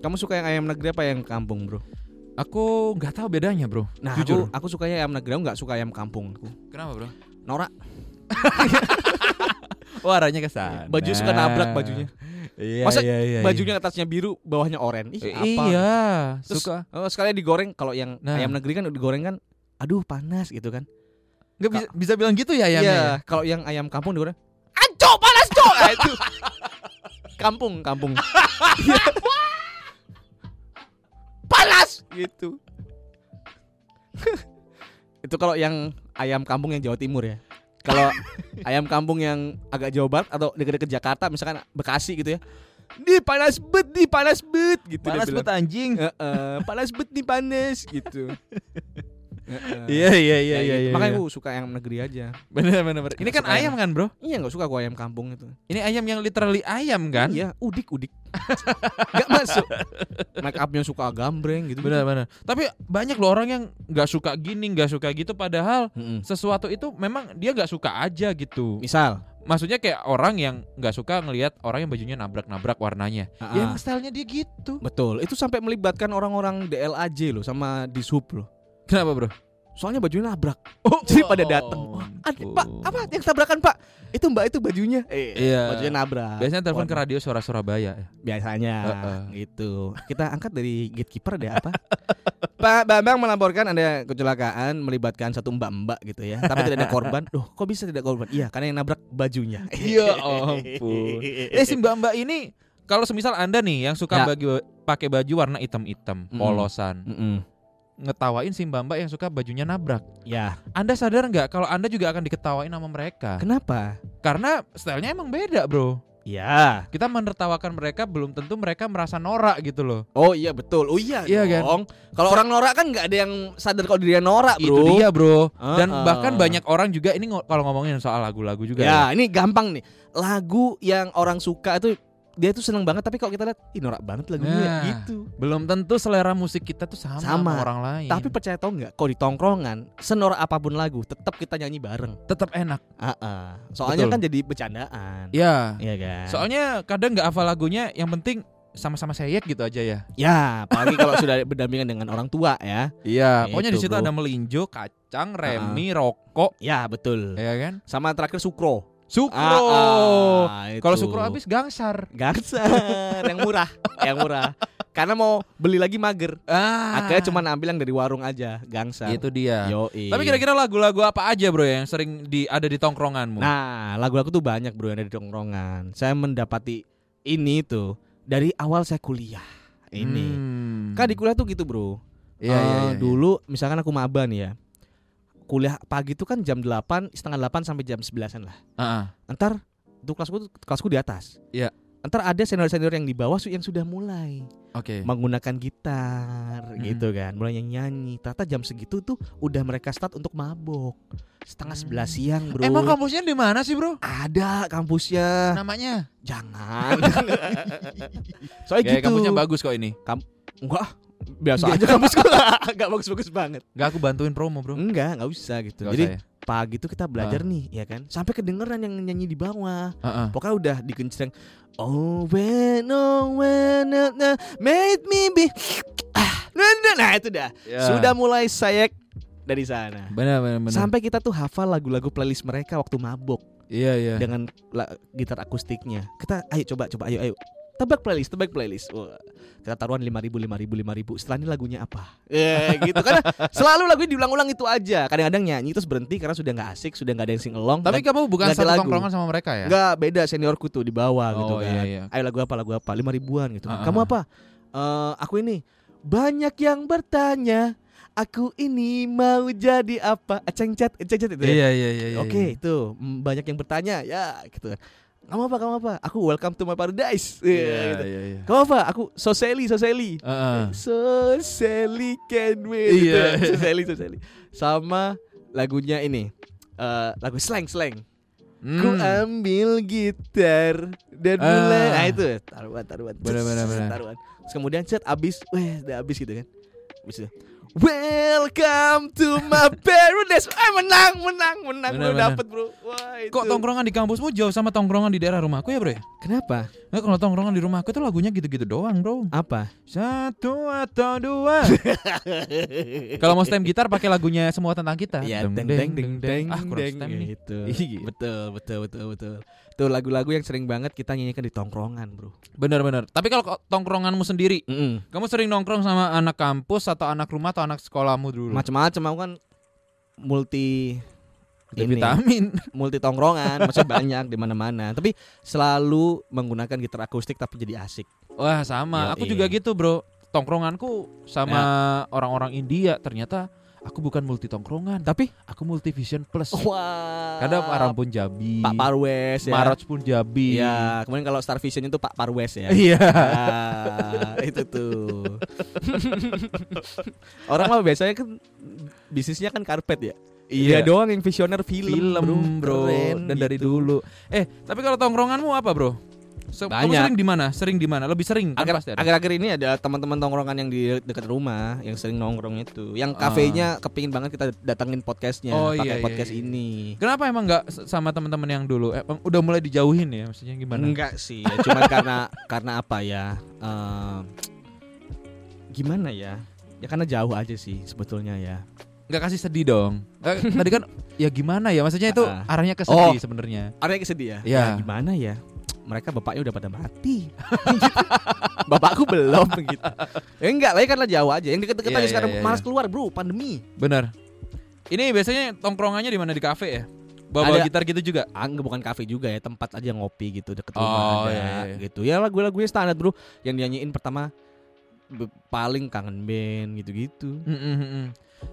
[SPEAKER 1] kamu suka yang ayam negeri apa yang kampung, Bro?
[SPEAKER 2] Aku nggak tahu bedanya, bro.
[SPEAKER 1] Nah,
[SPEAKER 2] Jujur.
[SPEAKER 1] aku aku sukanya ayam negeri, aku nggak suka ayam kampung aku.
[SPEAKER 2] Kenapa, bro?
[SPEAKER 1] Norak.
[SPEAKER 2] Oh, arahnya ke sana.
[SPEAKER 1] Baju suka nabrak bajunya.
[SPEAKER 2] Iya,
[SPEAKER 1] Masa
[SPEAKER 2] iya, iya,
[SPEAKER 1] Bajunya atasnya biru, bawahnya oranye. Ih,
[SPEAKER 2] iya.
[SPEAKER 1] apa?
[SPEAKER 2] Iya,
[SPEAKER 1] Terus-
[SPEAKER 2] suka.
[SPEAKER 1] Oh, sekalian digoreng kalau yang
[SPEAKER 2] Nah.
[SPEAKER 1] ayam negeri kan digoreng kan aduh panas gitu kan.
[SPEAKER 2] Nggak bisa, bisa bilang gitu ya ayamnya. ya?
[SPEAKER 1] Iya, kalau yang ayam kampung digoreng anco panas cok. Nah, itu. kampung, kampung. Iya. panas gitu. [LAUGHS] itu kalau yang ayam kampung yang Jawa Timur ya.
[SPEAKER 2] [LAUGHS]
[SPEAKER 1] Kalau ayam kampung yang agak Jawa Barat atau dekat-dekat Jakarta misalkan Bekasi gitu ya. Di panas bet, di panas bet gitu dia
[SPEAKER 2] Panas
[SPEAKER 1] bilang.
[SPEAKER 2] bet ah. anjing.
[SPEAKER 1] Heeh, panas bet nih panas gitu. Heeh.
[SPEAKER 2] [LAUGHS] iya,
[SPEAKER 1] Ya, gitu. Makanya
[SPEAKER 2] Makanya
[SPEAKER 1] gue suka ayam negeri aja.
[SPEAKER 2] bener, bener, bener. Ini kan
[SPEAKER 1] Suka
[SPEAKER 2] ayam kan, bro?
[SPEAKER 1] Iya nggak suka gue ayam kampung itu.
[SPEAKER 2] Ini ayam yang literally ayam kan?
[SPEAKER 1] Iya udik udik. [LAUGHS] gak masuk. Make upnya suka gambreng gitu.
[SPEAKER 2] Bener, bener. Tapi banyak loh orang yang nggak suka gini, nggak suka gitu. Padahal
[SPEAKER 1] Mm-mm.
[SPEAKER 2] sesuatu itu memang dia nggak suka aja gitu.
[SPEAKER 1] Misal.
[SPEAKER 2] Maksudnya kayak orang yang nggak suka ngelihat orang yang bajunya nabrak-nabrak warnanya.
[SPEAKER 1] ah,
[SPEAKER 2] Ya emang stylenya dia [LAUGHS] gitu.
[SPEAKER 1] Betul. Itu sampai melibatkan orang-orang DLAJ loh sama di loh.
[SPEAKER 2] Kenapa bro?
[SPEAKER 1] Soalnya bajunya nabrak.
[SPEAKER 2] Oh,
[SPEAKER 1] [LAUGHS] Jadi pada dateng. Ada, pak apa yang tabrakan pak? Itu mbak itu bajunya. Eh,
[SPEAKER 2] Iya.
[SPEAKER 1] Bajunya nabrak.
[SPEAKER 2] Biasanya telepon ke
[SPEAKER 1] Warna-
[SPEAKER 2] radio suara Surabaya. ya.
[SPEAKER 1] Biasanya
[SPEAKER 2] Heeh.
[SPEAKER 1] gitu. Kita angkat dari gatekeeper deh apa? [LAUGHS] Pak Bambang melaporkan ada kecelakaan melibatkan satu mbak-mbak gitu ya, tapi tidak ada korban. Ya Loh, kok bisa tidak korban? Iya, karena yang nabrak bajunya.
[SPEAKER 2] Iya ampun. Eh si mbak-mbak ini kalau semisal anda nih yang suka
[SPEAKER 1] Ya.
[SPEAKER 2] bagi pakai baju warna hitam-hitam,
[SPEAKER 1] Mm-mm.
[SPEAKER 2] polosan,
[SPEAKER 1] Mm-mm.
[SPEAKER 2] ngetawain si mbak-mbak yang suka bajunya nabrak.
[SPEAKER 1] Ya,
[SPEAKER 2] Anda sadar nggak kalau anda juga akan diketawain sama mereka?
[SPEAKER 1] kenapa?
[SPEAKER 2] Karena stylenya emang beda bro.
[SPEAKER 1] Ya.
[SPEAKER 2] Kita menertawakan mereka belum tentu mereka merasa norak gitu loh.
[SPEAKER 1] Oh iya betul. Oh iya,
[SPEAKER 2] Iya kan?
[SPEAKER 1] dong. Kalau orang norak kan nggak ada yang sadar kalau dirinya norak, gitu.
[SPEAKER 2] Itu
[SPEAKER 1] Bro.
[SPEAKER 2] dia bro. Dan
[SPEAKER 1] Uh-uh.
[SPEAKER 2] bahkan banyak orang juga ini ngo- kalau ngomongin soal lagu-lagu juga.
[SPEAKER 1] Ya, ini gampang nih. Lagu yang orang suka itu dia tuh seneng banget tapi kalau kita lihat ih norak banget lagunya
[SPEAKER 2] Nah.
[SPEAKER 1] gitu.
[SPEAKER 2] Belum tentu selera musik kita tuh sama,
[SPEAKER 1] Sama.
[SPEAKER 2] sama. orang lain.
[SPEAKER 1] Tapi percaya tau nggak kalau di tongkrongan senora apapun lagu tetap kita nyanyi bareng.
[SPEAKER 2] tetap enak.
[SPEAKER 1] Ah, ah. Soalnya
[SPEAKER 2] Betul.
[SPEAKER 1] kan jadi bercandaan.
[SPEAKER 2] Ya.
[SPEAKER 1] Iya kan.
[SPEAKER 2] Soalnya kadang nggak hafal lagunya, yang penting sama-sama seyek gitu aja ya.
[SPEAKER 1] ya, apalagi kalau sudah [LAUGHS] berdampingan dengan orang tua ya.
[SPEAKER 2] Iya.
[SPEAKER 1] Itu,
[SPEAKER 2] Pokoknya di situ
[SPEAKER 1] bro.
[SPEAKER 2] ada melinjo, kacang, remi, rokok,
[SPEAKER 1] Ya, betul.
[SPEAKER 2] ya kan?
[SPEAKER 1] Sama terakhir Sukro. Ah,
[SPEAKER 2] Sukro. Kalau sukro habis gangsar.
[SPEAKER 1] Gangsar yang murah, [LAUGHS] yang murah. Karena mau beli lagi mager.
[SPEAKER 2] Ah.
[SPEAKER 1] Akhirnya cuma ambil yang dari warung aja, gangsar.
[SPEAKER 2] itu dia.
[SPEAKER 1] Yoi.
[SPEAKER 2] Tapi kira-kira lagu-lagu apa aja bro yang sering di ada di tongkronganmu?
[SPEAKER 1] Nah, lagu aku tuh banyak bro yang ada di tongkrongan. Saya mendapati ini tuh dari awal saya kuliah. Ini.
[SPEAKER 2] Hmm.
[SPEAKER 1] Kan di kuliah tuh gitu bro.
[SPEAKER 2] Iya,
[SPEAKER 1] Eh,
[SPEAKER 2] iya, iya, iya.
[SPEAKER 1] Dulu misalkan aku maba nih ya. Kuliah pagi tuh kan jam 8, setengah 8 sampai jam 11-an lah.
[SPEAKER 2] Ah, ah.
[SPEAKER 1] Ntar tuh kelasku tuh- kelasku di atas.
[SPEAKER 2] Iya.
[SPEAKER 1] Ntar ada senior-senior yang di bawah su- yang sudah mulai
[SPEAKER 2] Oke.
[SPEAKER 1] menggunakan gitar
[SPEAKER 2] Mm-mm.
[SPEAKER 1] gitu kan, mulai nyanyi. Ternyata jam segitu tuh udah mereka start untuk mabok. Setengah
[SPEAKER 2] Hmm.
[SPEAKER 1] 11 siang, Bro. Nah,
[SPEAKER 2] Emang kampusnya di mana sih bro?
[SPEAKER 1] ada kampusnya.
[SPEAKER 2] Namanya?
[SPEAKER 1] Jangan. [LAUGHS] Soalnya
[SPEAKER 2] Kayak
[SPEAKER 1] gitu.
[SPEAKER 2] kampusnya bagus kok ini.
[SPEAKER 1] Enggak. Biasa
[SPEAKER 2] Nggak.
[SPEAKER 1] aja kampus gua. [LAUGHS] Enggak bagus-bagus banget.
[SPEAKER 2] Gak aku bantuin promo bro.
[SPEAKER 1] Enggak, enggak usah gitu.
[SPEAKER 2] Nggak
[SPEAKER 1] Jadi
[SPEAKER 2] usah ya.
[SPEAKER 1] pagi tuh kita belajar nih, ya kan? Sampai kedengeran yang nyanyi di bawah.
[SPEAKER 2] Ah, ah.
[SPEAKER 1] Pokoknya udah digenceng. Oh when, oh when, uh, uh, made me be. Ah, nah, nah, nah, itu dah.
[SPEAKER 2] Ya.
[SPEAKER 1] Sudah mulai sayek dari sana.
[SPEAKER 2] Benar benar benar.
[SPEAKER 1] Sampai kita tuh hafal lagu-lagu playlist mereka waktu mabok.
[SPEAKER 2] Iya iya.
[SPEAKER 1] dengan la- gitar akustiknya. Kita ayo coba coba ayo ayo. Tebak playlist, tebak playlist. Wah, kita taruhan 5000 5000 5000. Setelah ini lagunya apa? [LAUGHS] Eh gitu karena selalu lagunya diulang-ulang itu aja. Kadang-kadang nyanyi terus berhenti karena sudah nggak asik, sudah nggak ada yang sing along.
[SPEAKER 2] Tapi kamu bukan
[SPEAKER 1] nggak ada
[SPEAKER 2] satu
[SPEAKER 1] lagu.
[SPEAKER 2] tongkrongan sama mereka ya?
[SPEAKER 1] enggak beda seniorku tuh di bawah gitu
[SPEAKER 2] Oh,
[SPEAKER 1] kan.
[SPEAKER 2] iya, iya.
[SPEAKER 1] Ayo lagu apa lagu apa? 5000-an gitu.
[SPEAKER 2] Ah,
[SPEAKER 1] Kamu
[SPEAKER 2] ah.
[SPEAKER 1] apa? Eh aku ini banyak yang bertanya Aku ini mau jadi apa? Cengcat, cengcat itu. ya.
[SPEAKER 2] Iya iya iya. iya,
[SPEAKER 1] Oke
[SPEAKER 2] iya.
[SPEAKER 1] itu mm, banyak yang bertanya ya gitu kan. Kamu apa kamu apa? Aku welcome to my paradise. Iya,
[SPEAKER 2] Iya
[SPEAKER 1] gitu.
[SPEAKER 2] iya iya.
[SPEAKER 1] Kamu apa? Aku Soseli Soseli.
[SPEAKER 2] Ah, ah.
[SPEAKER 1] Soseli can we?
[SPEAKER 2] Iya.
[SPEAKER 1] gitu. Soseli Soseli. Sama lagunya ini. eh lagu slang slang. Ku
[SPEAKER 2] Hmm.
[SPEAKER 1] ambil gitar dan
[SPEAKER 2] Ah.
[SPEAKER 1] mulai. Nah itu taruhan taruhan.
[SPEAKER 2] Benar, benar,
[SPEAKER 1] Cet,
[SPEAKER 2] benar.
[SPEAKER 1] Taruhan. Terus kemudian set abis, weh udah abis gitu kan. Abis itu. Welcome to
[SPEAKER 2] [LAUGHS]
[SPEAKER 1] my paradise. Eh menang menang menang
[SPEAKER 2] Benar,
[SPEAKER 1] udah
[SPEAKER 2] benar.
[SPEAKER 1] dapet bro. Wah itu.
[SPEAKER 2] Kok tongkrongan di kampusmu jauh sama tongkrongan di daerah rumahku ya bro ya?
[SPEAKER 1] Kenapa?
[SPEAKER 2] Nggak, kalau tongkrongan di rumahku tuh lagunya gitu-gitu doang bro
[SPEAKER 1] Apa?
[SPEAKER 2] Satu atau dua [LAUGHS] Kalau mau stem gitar pakai lagunya semua tentang kita
[SPEAKER 1] Ya deng
[SPEAKER 2] Deng,
[SPEAKER 1] deng deng deng
[SPEAKER 2] Ah kurang
[SPEAKER 1] deng
[SPEAKER 2] stem nih
[SPEAKER 1] gitu.
[SPEAKER 2] Iya.
[SPEAKER 1] Betul betul betul betul. Tuh lagu-lagu yang sering banget kita nyanyikan di tongkrongan bro.
[SPEAKER 2] Bener-bener Tapi kalau ko- tongkronganmu sendiri
[SPEAKER 1] Mm
[SPEAKER 2] Kamu sering nongkrong sama anak kampus Atau anak rumah Atau anak sekolahmu dulu
[SPEAKER 1] Macam-macam aku kan multi
[SPEAKER 2] Ada
[SPEAKER 1] ini.
[SPEAKER 2] Vitamin
[SPEAKER 1] multi tongkrongan,
[SPEAKER 2] [LAUGHS]
[SPEAKER 1] maksudnya banyak di mana-mana. Tapi selalu menggunakan gitar akustik tapi jadi asik.
[SPEAKER 2] Wah sama Aku
[SPEAKER 1] Yoi.
[SPEAKER 2] juga gitu bro Tongkronganku
[SPEAKER 1] Ya.
[SPEAKER 2] sama orang-orang India Ternyata aku bukan multi tongkrongan
[SPEAKER 1] Tapi
[SPEAKER 2] Aku multi vision plus
[SPEAKER 1] wah.
[SPEAKER 2] Kadang orang pun Jabi
[SPEAKER 1] Pak Parwes ya.
[SPEAKER 2] Marots pun Jabi
[SPEAKER 1] Iya, kemudian kalau Star Vision itu Pak Parwes ya.
[SPEAKER 2] [LAUGHS] Iya.
[SPEAKER 1] Ah, itu tuh. orang mah biasanya kan bisnisnya kan karpet ya. Dia
[SPEAKER 2] Iya.
[SPEAKER 1] doang yang visioner film,
[SPEAKER 2] Film bro,
[SPEAKER 1] Keren
[SPEAKER 2] dan dari
[SPEAKER 1] gitu.
[SPEAKER 2] dulu. Eh tapi kalau tongkronganmu apa bro? Se- Kamu
[SPEAKER 1] Banyak.
[SPEAKER 2] sering di mana? Sering di mana? Lebih sering kan
[SPEAKER 1] Akhir-
[SPEAKER 2] pasti ada.
[SPEAKER 1] Akhir-akhir ini ada teman-teman tongkrongan yang di dekat rumah yang sering nongkrong itu, yang kafenya kepingin banget kita datengin podcastnya,
[SPEAKER 2] Ah. Oh, iya,
[SPEAKER 1] pakai
[SPEAKER 2] iya,
[SPEAKER 1] podcast
[SPEAKER 2] iya.
[SPEAKER 1] ini.
[SPEAKER 2] Kenapa emang nggak s- sama teman-teman yang dulu? Eh, em- udah mulai dijauhin ya maksudnya gimana?
[SPEAKER 1] Enggak sih, ya, cuma karena [LAUGHS] karena apa ya? em, gimana ya? Ya karena jauh aja sih sebetulnya ya.
[SPEAKER 2] Nggak kasih sedih dong. [LAUGHS] Eh, tadi kan ya gimana ya maksudnya itu
[SPEAKER 1] Ah.
[SPEAKER 2] arahnya ke
[SPEAKER 1] Oh.
[SPEAKER 2] sedih sebenarnya.
[SPEAKER 1] Ada yang sedih ya?
[SPEAKER 2] Iya.
[SPEAKER 1] Ya, gimana ya? mereka bapaknya udah pada mati. [LAUGHS] Bapakku belum gitu.
[SPEAKER 2] [LAUGHS]
[SPEAKER 1] Ya enggak lah ya karena jauh aja. Yang deket-deket
[SPEAKER 2] Iya,
[SPEAKER 1] aja
[SPEAKER 2] iya,
[SPEAKER 1] sekarang
[SPEAKER 2] iya,
[SPEAKER 1] malas
[SPEAKER 2] iya.
[SPEAKER 1] keluar, Bro, pandemi.
[SPEAKER 2] Benar. Ini biasanya tongkrongannya di mana di kafe ya? Bawa,
[SPEAKER 1] Ada.
[SPEAKER 2] gitar gitu juga.
[SPEAKER 1] Ah, enggak bukan kafe juga ya, tempat aja ngopi gitu deket rumah
[SPEAKER 2] Oh,
[SPEAKER 1] ada
[SPEAKER 2] iya, iya.
[SPEAKER 1] gitu. Ya lagu-lagunya standar, Bro. Yang dinyanyiin pertama be- paling kangen band gitu-gitu.
[SPEAKER 2] Mm, mm, mm, mm.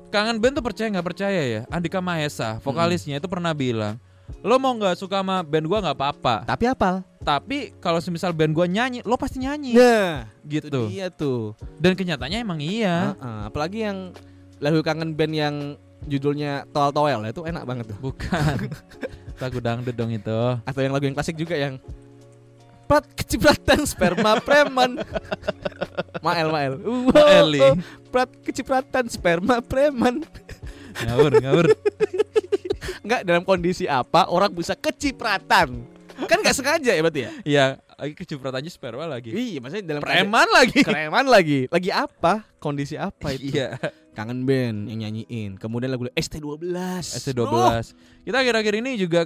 [SPEAKER 2] Kangen band tuh percaya nggak percaya ya? Andika Mahesa, vokalisnya itu pernah bilang, lo mau nggak suka sama band gua nggak apa-apa.
[SPEAKER 1] Tapi apal?
[SPEAKER 2] Tapi kalau semisal band gua nyanyi, lo pasti nyanyi
[SPEAKER 1] Nah, itu
[SPEAKER 2] gitu.
[SPEAKER 1] dia tuh.
[SPEAKER 2] Dan kenyataannya emang iya.
[SPEAKER 1] Heeh, apalagi yang lagu kangen band yang judulnya Toel Toel itu enak banget tuh.
[SPEAKER 2] [LAUGHS] Bukan. Lagu dangdut dong itu.
[SPEAKER 1] Atau yang lagu yang klasik juga yang Prat kecipratan sperma
[SPEAKER 2] [LAUGHS]
[SPEAKER 1] preman Mael Mael Wow,
[SPEAKER 2] Eli.
[SPEAKER 1] Prat kecipratan sperma preman
[SPEAKER 2] Ngawur, ngawur.
[SPEAKER 1] Enggak dalam kondisi apa orang bisa kecipratan Kan gak sengaja ya berarti ya
[SPEAKER 2] Iya, lagi kecipratannya sperma lagi.
[SPEAKER 1] Iya maksudnya dalam keadaan-
[SPEAKER 2] Preman lagi.
[SPEAKER 1] Preman [LAUGHS] lagi Lagi apa? Kondisi apa itu?
[SPEAKER 2] Iya,
[SPEAKER 1] Kangen band yang nyanyiin Kemudian lagu ST12
[SPEAKER 2] ST12.
[SPEAKER 1] Bro,
[SPEAKER 2] Kita akhir-akhir ini juga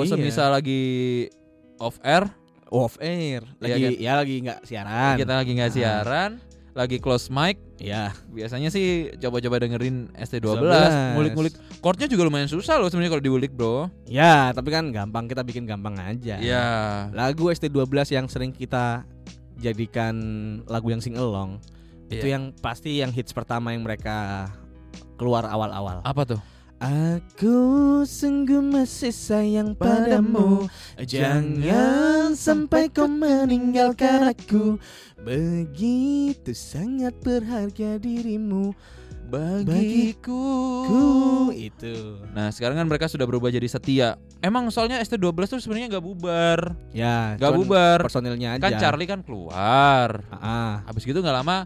[SPEAKER 1] Oh. Iya.
[SPEAKER 2] semisal lagi off air,
[SPEAKER 1] off air lagi
[SPEAKER 2] Iya
[SPEAKER 1] ya lagi nggak siaran
[SPEAKER 2] kita lagi nggak
[SPEAKER 1] Ah.
[SPEAKER 2] siaran, lagi close mic,
[SPEAKER 1] ya
[SPEAKER 2] biasanya sih coba-coba dengerin ST12,
[SPEAKER 1] 12.
[SPEAKER 2] ngulik-ngulik. Chordnya juga lumayan susah loh sebenarnya kalau diulik, Bro.
[SPEAKER 1] ya tapi kan gampang kita bikin gampang aja
[SPEAKER 2] Iya.
[SPEAKER 1] lagu ST12 yang sering kita jadikan lagu yang sing along itu
[SPEAKER 2] Iya.
[SPEAKER 1] yang pasti yang hits pertama yang mereka keluar awal-awal
[SPEAKER 2] Apa tuh?
[SPEAKER 1] aku sungguh masih sayang padamu Jangan sampai kau meninggalkan aku Begitu sangat berharga dirimu Ku itu
[SPEAKER 2] Nah, sekarang kan mereka sudah berubah jadi setia. Emang soalnya ST12 tuh sebenarnya nggak bubar,
[SPEAKER 1] Ya,
[SPEAKER 2] nggak
[SPEAKER 1] cuman
[SPEAKER 2] bubar.
[SPEAKER 1] Personilnya aja.
[SPEAKER 2] Kan Charlie kan keluar.
[SPEAKER 1] Heeh.
[SPEAKER 2] Habis gitu nggak lama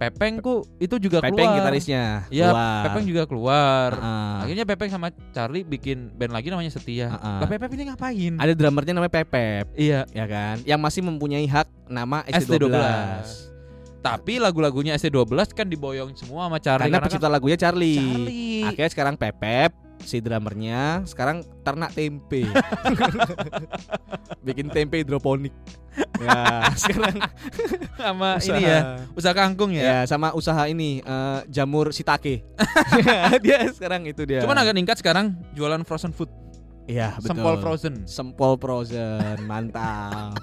[SPEAKER 2] Pepengku itu juga
[SPEAKER 1] Pepeng
[SPEAKER 2] keluar.
[SPEAKER 1] gitarisnya.
[SPEAKER 2] Iya,
[SPEAKER 1] keluar.
[SPEAKER 2] Pepeng juga keluar.
[SPEAKER 1] Heeh.
[SPEAKER 2] Akhirnya Pepeng sama Charlie bikin band lagi namanya Setia.
[SPEAKER 1] Heeh.
[SPEAKER 2] Lah Pepeng ini ngapain?
[SPEAKER 1] Ada drummernya namanya Pepep,
[SPEAKER 2] Iya,
[SPEAKER 1] ya kan? Yang masih mempunyai hak nama
[SPEAKER 2] ST12.
[SPEAKER 1] ST12.
[SPEAKER 2] tapi lagu-lagunya ST12 kan diboyong semua sama Charlie
[SPEAKER 1] Karena
[SPEAKER 2] kan
[SPEAKER 1] pencipta lagunya Charlie.
[SPEAKER 2] Charlie.
[SPEAKER 1] Akhirnya sekarang Pepep si drummernya sekarang ternak
[SPEAKER 2] [LAUGHS]
[SPEAKER 1] tempe. Bikin tempe hidroponik. Ya,
[SPEAKER 2] [LAUGHS]
[SPEAKER 1] sekarang
[SPEAKER 2] sama
[SPEAKER 1] usaha.
[SPEAKER 2] ini ya, usaha kangkung ya.
[SPEAKER 1] Ya, sama usaha ini eh, jamur
[SPEAKER 2] [LAUGHS]
[SPEAKER 1] sitake. dia sekarang itu dia.
[SPEAKER 2] Cuman agak ningkat sekarang jualan frozen food,
[SPEAKER 1] Iya, betul.
[SPEAKER 2] sempol frozen.
[SPEAKER 1] Sempol frozen, mantap.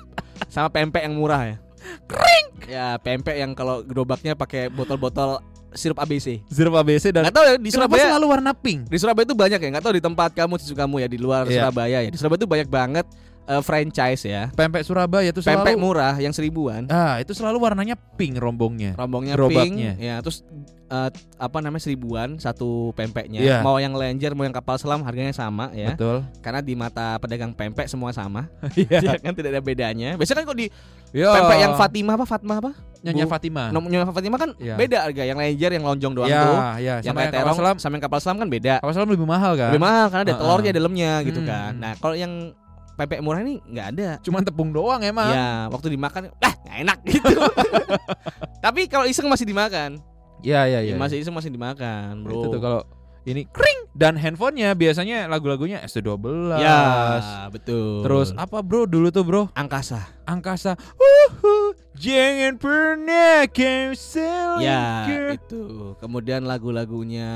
[SPEAKER 1] Sama pempek yang murah ya. Kering. Ya, pempek yang kalau gerobaknya pakai botol-botol sirup ABC.
[SPEAKER 2] Zero ABC dan
[SPEAKER 1] Enggak tahu ya di
[SPEAKER 2] Nah, Kenapa
[SPEAKER 1] Surabaya.
[SPEAKER 2] selalu warna pink?
[SPEAKER 1] Di Surabaya itu banyak ya, enggak tahu di tempat kamu cucu kamu ya di luar
[SPEAKER 2] Iya.
[SPEAKER 1] Surabaya ya. Di Surabaya itu banyak banget eh, franchise ya.
[SPEAKER 2] Pempek Surabaya itu selalu
[SPEAKER 1] Pempek murah yang seribuan,
[SPEAKER 2] Ah, itu selalu warnanya pink rombongnya.
[SPEAKER 1] rombongnya
[SPEAKER 2] Gerobaknya.
[SPEAKER 1] pink, ya terus eh, apa namanya seribuan satu pempeknya.
[SPEAKER 2] Iya.
[SPEAKER 1] Mau yang lenjer, mau yang kapal selam harganya sama ya.
[SPEAKER 2] Betul.
[SPEAKER 1] Karena di mata pedagang pempek semua sama.
[SPEAKER 2] [LAUGHS]
[SPEAKER 1] Ya
[SPEAKER 2] Iya.
[SPEAKER 1] kan tidak ada bedanya. Biasanya kan kalau di
[SPEAKER 2] Yo.
[SPEAKER 1] Pempek yang Fatimah apa Fatma apa?
[SPEAKER 2] Nyonya
[SPEAKER 1] Bu-
[SPEAKER 2] Fatima.
[SPEAKER 1] Nom- Nyonya Fatimah kan
[SPEAKER 2] Iya.
[SPEAKER 1] beda harga yang lenjer yang lonjong doang
[SPEAKER 2] ya,
[SPEAKER 1] tuh.
[SPEAKER 2] ya,
[SPEAKER 1] Yang
[SPEAKER 2] sama
[SPEAKER 1] kayak
[SPEAKER 2] yang kapal
[SPEAKER 1] terong
[SPEAKER 2] selam.
[SPEAKER 1] sama yang kapal selam kan beda.
[SPEAKER 2] Kapal selam lebih mahal kan?
[SPEAKER 1] Lebih mahal karena ada
[SPEAKER 2] Heeh.
[SPEAKER 1] telurnya dalamnya gitu
[SPEAKER 2] Hmm.
[SPEAKER 1] kan. Nah, kalau yang pempek murah ini nggak ada.
[SPEAKER 2] Cuman tepung doang emang.
[SPEAKER 1] Ya, waktu dimakan, lah nggak enak gitu. [LAUGHS] Tapi kalau iseng masih dimakan.
[SPEAKER 2] Iya, iya, iya.
[SPEAKER 1] Masih iseng masih dimakan, Bro.
[SPEAKER 2] Itu tuh kalau ini kring dan handphonenya biasanya lagu-lagunya ST12.
[SPEAKER 1] ya, betul.
[SPEAKER 2] Terus apa bro dulu tuh bro
[SPEAKER 1] angkasa.
[SPEAKER 2] angkasa uhu jangan pernah kau selingkuh
[SPEAKER 1] Ya,
[SPEAKER 2] iya.
[SPEAKER 1] itu. Kemudian lagu-lagunya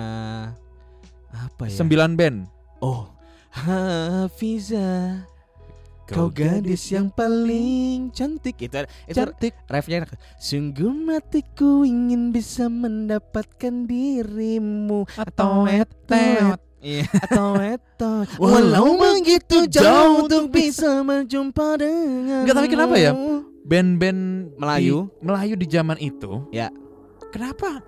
[SPEAKER 1] apa ya?
[SPEAKER 2] sembilan band
[SPEAKER 1] Oh, Hafiza, kau gadis yang paling cantik. Itu, itu
[SPEAKER 2] cantik
[SPEAKER 1] refnya enak. Sungguh matiku ingin bisa mendapatkan dirimu atau etet
[SPEAKER 2] Iya.
[SPEAKER 1] atau etot. Walau begitu jauh untuk bisa berjumpa dengan.
[SPEAKER 2] Nggak, tapi kenapa ya? band-band
[SPEAKER 1] Melayu.
[SPEAKER 2] di- Melayu di zaman itu
[SPEAKER 1] Ya.
[SPEAKER 2] kenapa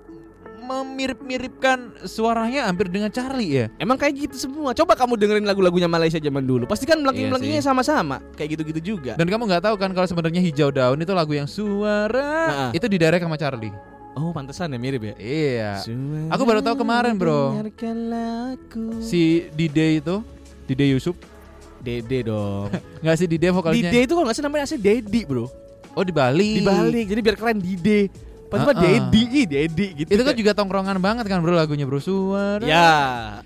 [SPEAKER 2] memirip-miripkan suaranya hampir dengan Charlie ya
[SPEAKER 1] Emang kayak gitu semua. Coba kamu dengerin lagu-lagunya Malaysia zaman dulu. Pasti kan melengking-melengkingnya
[SPEAKER 2] Iya
[SPEAKER 1] sama-sama. Kayak gitu-gitu juga.
[SPEAKER 2] dan kamu nggak tahu kan kalau sebenarnya hijau daun itu lagu yang suara
[SPEAKER 1] Nah.
[SPEAKER 2] itu diderek sama Charlie
[SPEAKER 1] Oh, pantesan ya mirip ya.
[SPEAKER 2] iya Aku baru tahu kemarin, Bro.
[SPEAKER 1] Dengarkanlah aku.
[SPEAKER 2] si Dide itu Dide Yusuf
[SPEAKER 1] Dede [LAUGHS] dong.
[SPEAKER 2] nggak sih Dide vokalnya
[SPEAKER 1] Dide itu kalau nggak salah namanya asli Dedi bro.
[SPEAKER 2] oh di Bali
[SPEAKER 1] Dibalik jadi biar keren Dide. Pas uh
[SPEAKER 2] Ah-ah.
[SPEAKER 1] Dedi, ih Dedi gitu.
[SPEAKER 2] Ah, itu kan juga tongkrongan banget kan bro lagunya bro suara
[SPEAKER 1] Ya.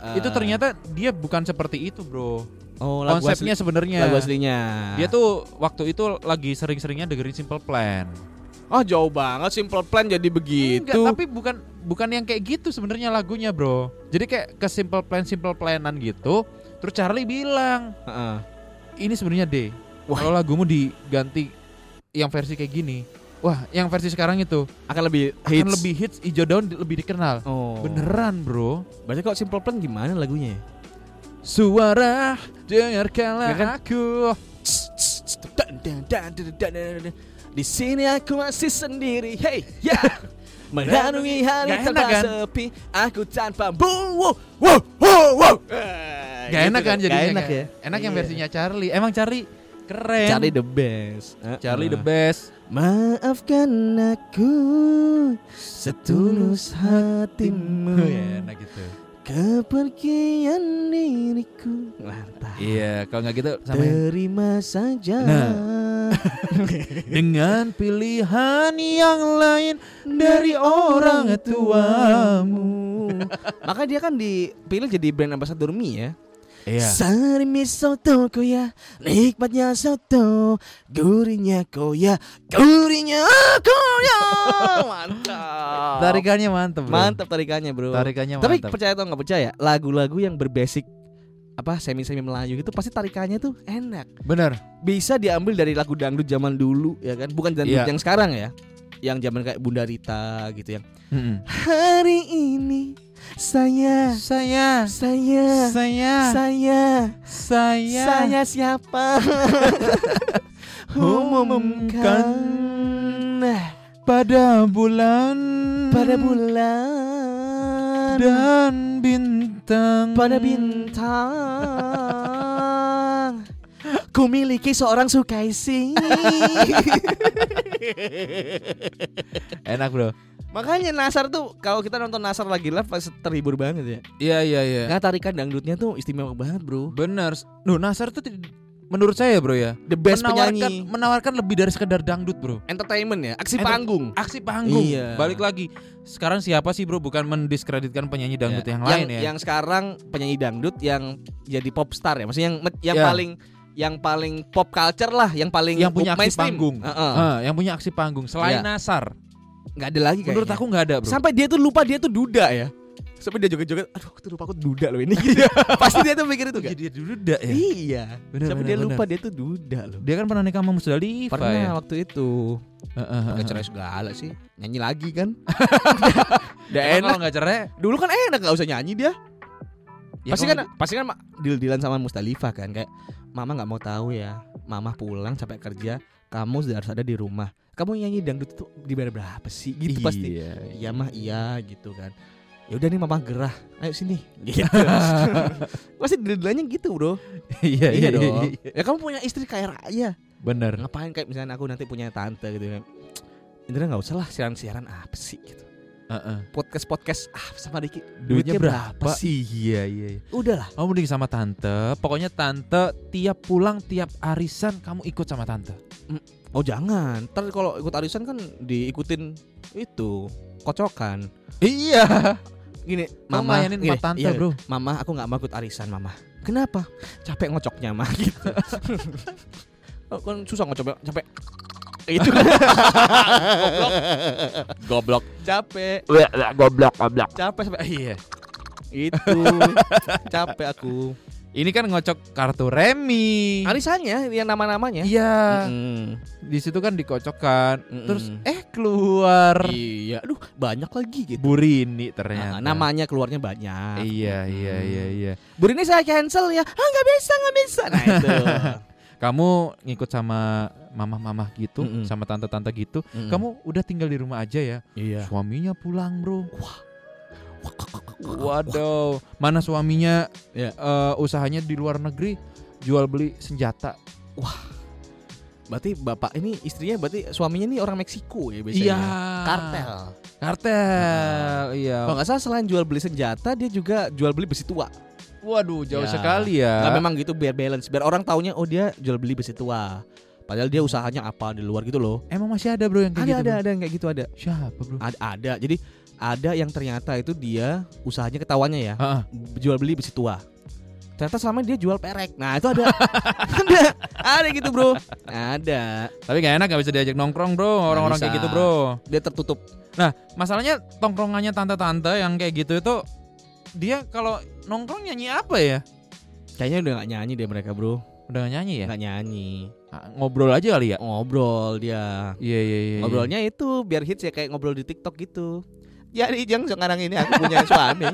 [SPEAKER 1] eh,
[SPEAKER 2] itu ternyata dia bukan seperti itu bro
[SPEAKER 1] Oh, lagu
[SPEAKER 2] Konsepnya
[SPEAKER 1] asli,
[SPEAKER 2] sebenarnya.
[SPEAKER 1] lagu aslinya.
[SPEAKER 2] Dia tuh waktu itu lagi sering-seringnya dengerin Simple Plan.
[SPEAKER 1] Oh, jauh banget simple plan jadi begitu.
[SPEAKER 2] Enggak, tapi bukan bukan yang kayak gitu sebenarnya lagunya, Bro. Jadi kayak ke Simple Plan Simple Planan gitu. Terus Charlie bilang,
[SPEAKER 1] Heeh.
[SPEAKER 2] "Ini sebenarnya D.
[SPEAKER 1] Wah.
[SPEAKER 2] Kalau lagumu diganti yang versi kayak gini, wah, yang versi sekarang itu
[SPEAKER 1] Akan lebih
[SPEAKER 2] akan
[SPEAKER 1] hits.
[SPEAKER 2] lebih hits, hijau daun di- lebih dikenal."
[SPEAKER 1] Oh.
[SPEAKER 2] Beneran, Bro.
[SPEAKER 1] Berarti kalau simple plan gimana lagunya ya?
[SPEAKER 2] Suara dengarkanlah
[SPEAKER 1] Ya kan?
[SPEAKER 2] aku.
[SPEAKER 1] Di sini aku masih sendiri. Hey,
[SPEAKER 2] [LAUGHS]
[SPEAKER 1] ya. Merenungi hari
[SPEAKER 2] Nggak enak,
[SPEAKER 1] tanpa
[SPEAKER 2] kan?
[SPEAKER 1] sepi, aku tanpa wow, wow, wow, wow. Eh,
[SPEAKER 2] Gak
[SPEAKER 1] gitu
[SPEAKER 2] enak kan jadinya?
[SPEAKER 1] Nggak enak
[SPEAKER 2] kan?
[SPEAKER 1] ya.
[SPEAKER 2] Enak yang
[SPEAKER 1] Iya.
[SPEAKER 2] versinya Charlie. Emang Charlie keren. Nah.
[SPEAKER 1] Charlie the best. Ah,
[SPEAKER 2] Charlie the
[SPEAKER 1] Heeh.
[SPEAKER 2] best.
[SPEAKER 1] Maafkan aku setulus [LAUGHS]
[SPEAKER 2] [LAUGHS]
[SPEAKER 1] hatimu.
[SPEAKER 2] Ya, enak gitu.
[SPEAKER 1] Kepergian diriku. Mantap.
[SPEAKER 2] Iya, kalau nggak gitu sama yang-
[SPEAKER 1] Terima saja.
[SPEAKER 2] Nah.
[SPEAKER 1] [LAUGHS]
[SPEAKER 2] dengan pilihan yang lain dari orang tuamu.
[SPEAKER 1] Maka dia kan dipilih jadi brand ambassador mie ya.
[SPEAKER 2] Iya.
[SPEAKER 1] Sarimi soto koya, nikmatnya soto, gurihnya koya, gurihnya koya. [LAUGHS] Mantap.
[SPEAKER 2] Tarikannya mantep. bro.
[SPEAKER 1] mantap tarikannya, Bro.
[SPEAKER 2] Tarikannya
[SPEAKER 1] Tapi
[SPEAKER 2] mantep.
[SPEAKER 1] percaya atau nggak percaya, lagu-lagu yang berbasic apa semi-semi Melayu gitu pasti tarikannya tuh enak.
[SPEAKER 2] Bener.
[SPEAKER 1] Bisa diambil dari lagu dangdut zaman dulu ya kan, bukan dangdut
[SPEAKER 2] Iya.
[SPEAKER 1] yang sekarang ya. Yang zaman kayak Bunda Rita gitu yang
[SPEAKER 2] Mm-mm.
[SPEAKER 1] hari ini saya
[SPEAKER 2] Saya,
[SPEAKER 1] saya
[SPEAKER 2] saya,
[SPEAKER 1] saya
[SPEAKER 2] saya,
[SPEAKER 1] Eh, saya siapa [LAUGHS] umumkan
[SPEAKER 2] pada bulan,
[SPEAKER 1] Nah, pada bulan
[SPEAKER 2] dan bintang,
[SPEAKER 1] pada bintang ku miliki seorang Sukaisi
[SPEAKER 2] Enak bro.
[SPEAKER 1] [LAUGHS] makanya Nasar tuh kalau kita nonton Nasar lagi live pasti terhibur banget ya
[SPEAKER 2] Iya iya iya.
[SPEAKER 1] Nah tarikan dangdutnya tuh istimewa banget bro
[SPEAKER 2] Bener. Nuh Nasar tuh tid- menurut saya bro ya
[SPEAKER 1] The best
[SPEAKER 2] menawarkan
[SPEAKER 1] penyanyi
[SPEAKER 2] menawarkan lebih dari sekedar dangdut bro.
[SPEAKER 1] Entertainment ya Aksi
[SPEAKER 2] Enter-
[SPEAKER 1] panggung
[SPEAKER 2] Aksi panggung.
[SPEAKER 1] Iya.
[SPEAKER 2] Balik lagi. Sekarang siapa sih bro? Bukan mendiskreditkan penyanyi dangdut
[SPEAKER 1] Ya,
[SPEAKER 2] yang lain ya.
[SPEAKER 1] Yang sekarang penyanyi dangdut yang jadi pop star ya. Maksudnya yang yang
[SPEAKER 2] Ya.
[SPEAKER 1] paling yang paling pop culture lah, yang paling
[SPEAKER 2] Yang punya aksi
[SPEAKER 1] mainstream.
[SPEAKER 2] panggung.
[SPEAKER 1] Heeh.
[SPEAKER 2] Ah, yang punya aksi panggung
[SPEAKER 1] Iya.
[SPEAKER 2] selain Nasar.
[SPEAKER 1] Nggak ada lagi kayaknya.
[SPEAKER 2] Menurut aku nggak ada bro.
[SPEAKER 1] sampai dia tuh lupa dia tuh duda ya. Sampai dia joget-joget, aduh aku tuh lupa aku duda loh
[SPEAKER 2] [LAUGHS]
[SPEAKER 1] ini gitu. Pasti dia tuh mikir itu
[SPEAKER 2] Iya,
[SPEAKER 1] kan.
[SPEAKER 2] dia dulu dah ya.
[SPEAKER 1] Iya.
[SPEAKER 2] Bener,
[SPEAKER 1] Sampai
[SPEAKER 2] bener,
[SPEAKER 1] dia
[SPEAKER 2] bener.
[SPEAKER 1] lupa dia tuh duda loh.
[SPEAKER 2] Dia kan pernah nikah sama Musdalifah ya.
[SPEAKER 1] Pernah waktu itu
[SPEAKER 2] Ah, ah, ah,
[SPEAKER 1] Pakai
[SPEAKER 2] ah.
[SPEAKER 1] cerai segala sih Nyanyi lagi
[SPEAKER 2] [LAUGHS]
[SPEAKER 1] kan Udah
[SPEAKER 2] Emang
[SPEAKER 1] enak
[SPEAKER 2] kalau nggak cerai,
[SPEAKER 1] Dulu kan enak gak usah nyanyi dia
[SPEAKER 2] ya
[SPEAKER 1] pasti
[SPEAKER 2] kalau
[SPEAKER 1] kan pasti kan ma- deal-dealan sama Mustalifah kan kayak mama nggak mau tahu ya mama pulang capek kerja kamu sudah harus ada di rumah kamu nyanyi dangdut itu dibayar berapa sih gitu pasti
[SPEAKER 2] Iya.
[SPEAKER 1] iya mah iya gitu kan ya udah nih mama gerah ayo sini gitu [LAUGHS] pasti deal-dealannya gitu bro
[SPEAKER 2] [LAUGHS] Iya
[SPEAKER 1] iya
[SPEAKER 2] iya
[SPEAKER 1] dong
[SPEAKER 2] iya.
[SPEAKER 1] ya kamu punya istri kaya raya
[SPEAKER 2] Bener.
[SPEAKER 1] ngapain kayak misalnya aku nanti punya tante gitu kan Indra nggak usah lah siaran-siaran apa sih gitu
[SPEAKER 2] Ah, ah.
[SPEAKER 1] podcast-podcast ah sama Diki Duitnya
[SPEAKER 2] Duitnya berapa
[SPEAKER 1] berapa?
[SPEAKER 2] sih? Iya iya. iya.
[SPEAKER 1] udahlah
[SPEAKER 2] Kamu mending sama tante. Pokoknya tante tiap pulang tiap arisan kamu ikut sama tante.
[SPEAKER 1] oh jangan ntar kalau ikut arisan kan diikutin itu kocokan
[SPEAKER 2] Iya.
[SPEAKER 1] gini
[SPEAKER 2] Kamu layanin
[SPEAKER 1] gini,
[SPEAKER 2] empat tante
[SPEAKER 1] iya,
[SPEAKER 2] bro.
[SPEAKER 1] mama aku nggak mau ikut arisan mama kenapa capek ngocoknya mah
[SPEAKER 2] [LAUGHS]
[SPEAKER 1] gitu Oh, kan susah ngocok capek itu [LAUGHS]
[SPEAKER 2] Goblok.
[SPEAKER 1] capek
[SPEAKER 2] Goblok goblok.
[SPEAKER 1] capek sampai eh,
[SPEAKER 2] Iya.
[SPEAKER 1] itu
[SPEAKER 2] [LAUGHS]
[SPEAKER 1] capek aku
[SPEAKER 2] Ini kan ngocok kartu remi.
[SPEAKER 1] arisannya yang nama namanya
[SPEAKER 2] Iya. Di situ kan dikocokkan.
[SPEAKER 1] Mm-mm.
[SPEAKER 2] Terus er. eh keluar
[SPEAKER 1] iya aduh banyak lagi gitu Nah,
[SPEAKER 2] Burini ternyata.
[SPEAKER 1] namanya keluarnya banyak
[SPEAKER 2] Iya iya iya iya.
[SPEAKER 1] Bur ini saya cancel ya. Ah nggak bisa nggak bisa. Nah [LAUGHS] itu.
[SPEAKER 2] Kamu ngikut sama mama-mama gitu,
[SPEAKER 1] Mm-mm.
[SPEAKER 2] sama tante-tante gitu. Kamu udah tinggal di rumah aja ya.
[SPEAKER 1] Hmm. iya.
[SPEAKER 2] Suaminya pulang bro. Waduh, mana suaminya
[SPEAKER 1] Ya.
[SPEAKER 2] eh, usahanya di luar negeri jual beli senjata.
[SPEAKER 1] Berarti bapak ini istrinya berarti suaminya nih orang Meksiko ya biasanya. Kartel.
[SPEAKER 2] Iya. Kartel. Iya.
[SPEAKER 1] Kalau nggak salah selain jual beli senjata dia juga jual beli besi tua.
[SPEAKER 2] Waduh, jauh
[SPEAKER 1] Ya.
[SPEAKER 2] sekali
[SPEAKER 1] Nah,
[SPEAKER 2] ya.
[SPEAKER 1] memang gitu biar balance biar orang taunya oh dia jual beli besi tua. Padahal dia usahanya apa di luar gitu loh.
[SPEAKER 2] Emang masih ada bro yang kayak
[SPEAKER 1] Ada
[SPEAKER 2] gitu?
[SPEAKER 1] ada
[SPEAKER 2] Bro?
[SPEAKER 1] ada yang kayak gitu ada.
[SPEAKER 2] Siapa bro?
[SPEAKER 1] Ada ada. Jadi
[SPEAKER 2] Ah.
[SPEAKER 1] ada yang ternyata itu dia usahanya ketawanya ya
[SPEAKER 2] Heeh.
[SPEAKER 1] jual beli besi tua. ternyata selama ini dia jual perek nah itu ada [LAUGHS] ada ada gitu bro ada
[SPEAKER 2] Tapi gak enak gak bisa diajak nongkrong bro Orang-orang
[SPEAKER 1] Nggak
[SPEAKER 2] kayak
[SPEAKER 1] bisa.
[SPEAKER 2] gitu bro
[SPEAKER 1] dia tertutup
[SPEAKER 2] Nah masalahnya tongkrongannya tante-tante yang kayak gitu itu Dia kalau nongkrong nyanyi apa ya?
[SPEAKER 1] kayaknya udah gak nyanyi deh mereka bro
[SPEAKER 2] Udah nggak nyanyi ya?
[SPEAKER 1] nggak nyanyi
[SPEAKER 2] Ah, Ngobrol aja kali ya?
[SPEAKER 1] ngobrol dia
[SPEAKER 2] Iya iya iya
[SPEAKER 1] ngobrolnya itu biar hits ya kayak ngobrol di TikTok gitu jadi jang sekarang ini aku punya [LAUGHS] suami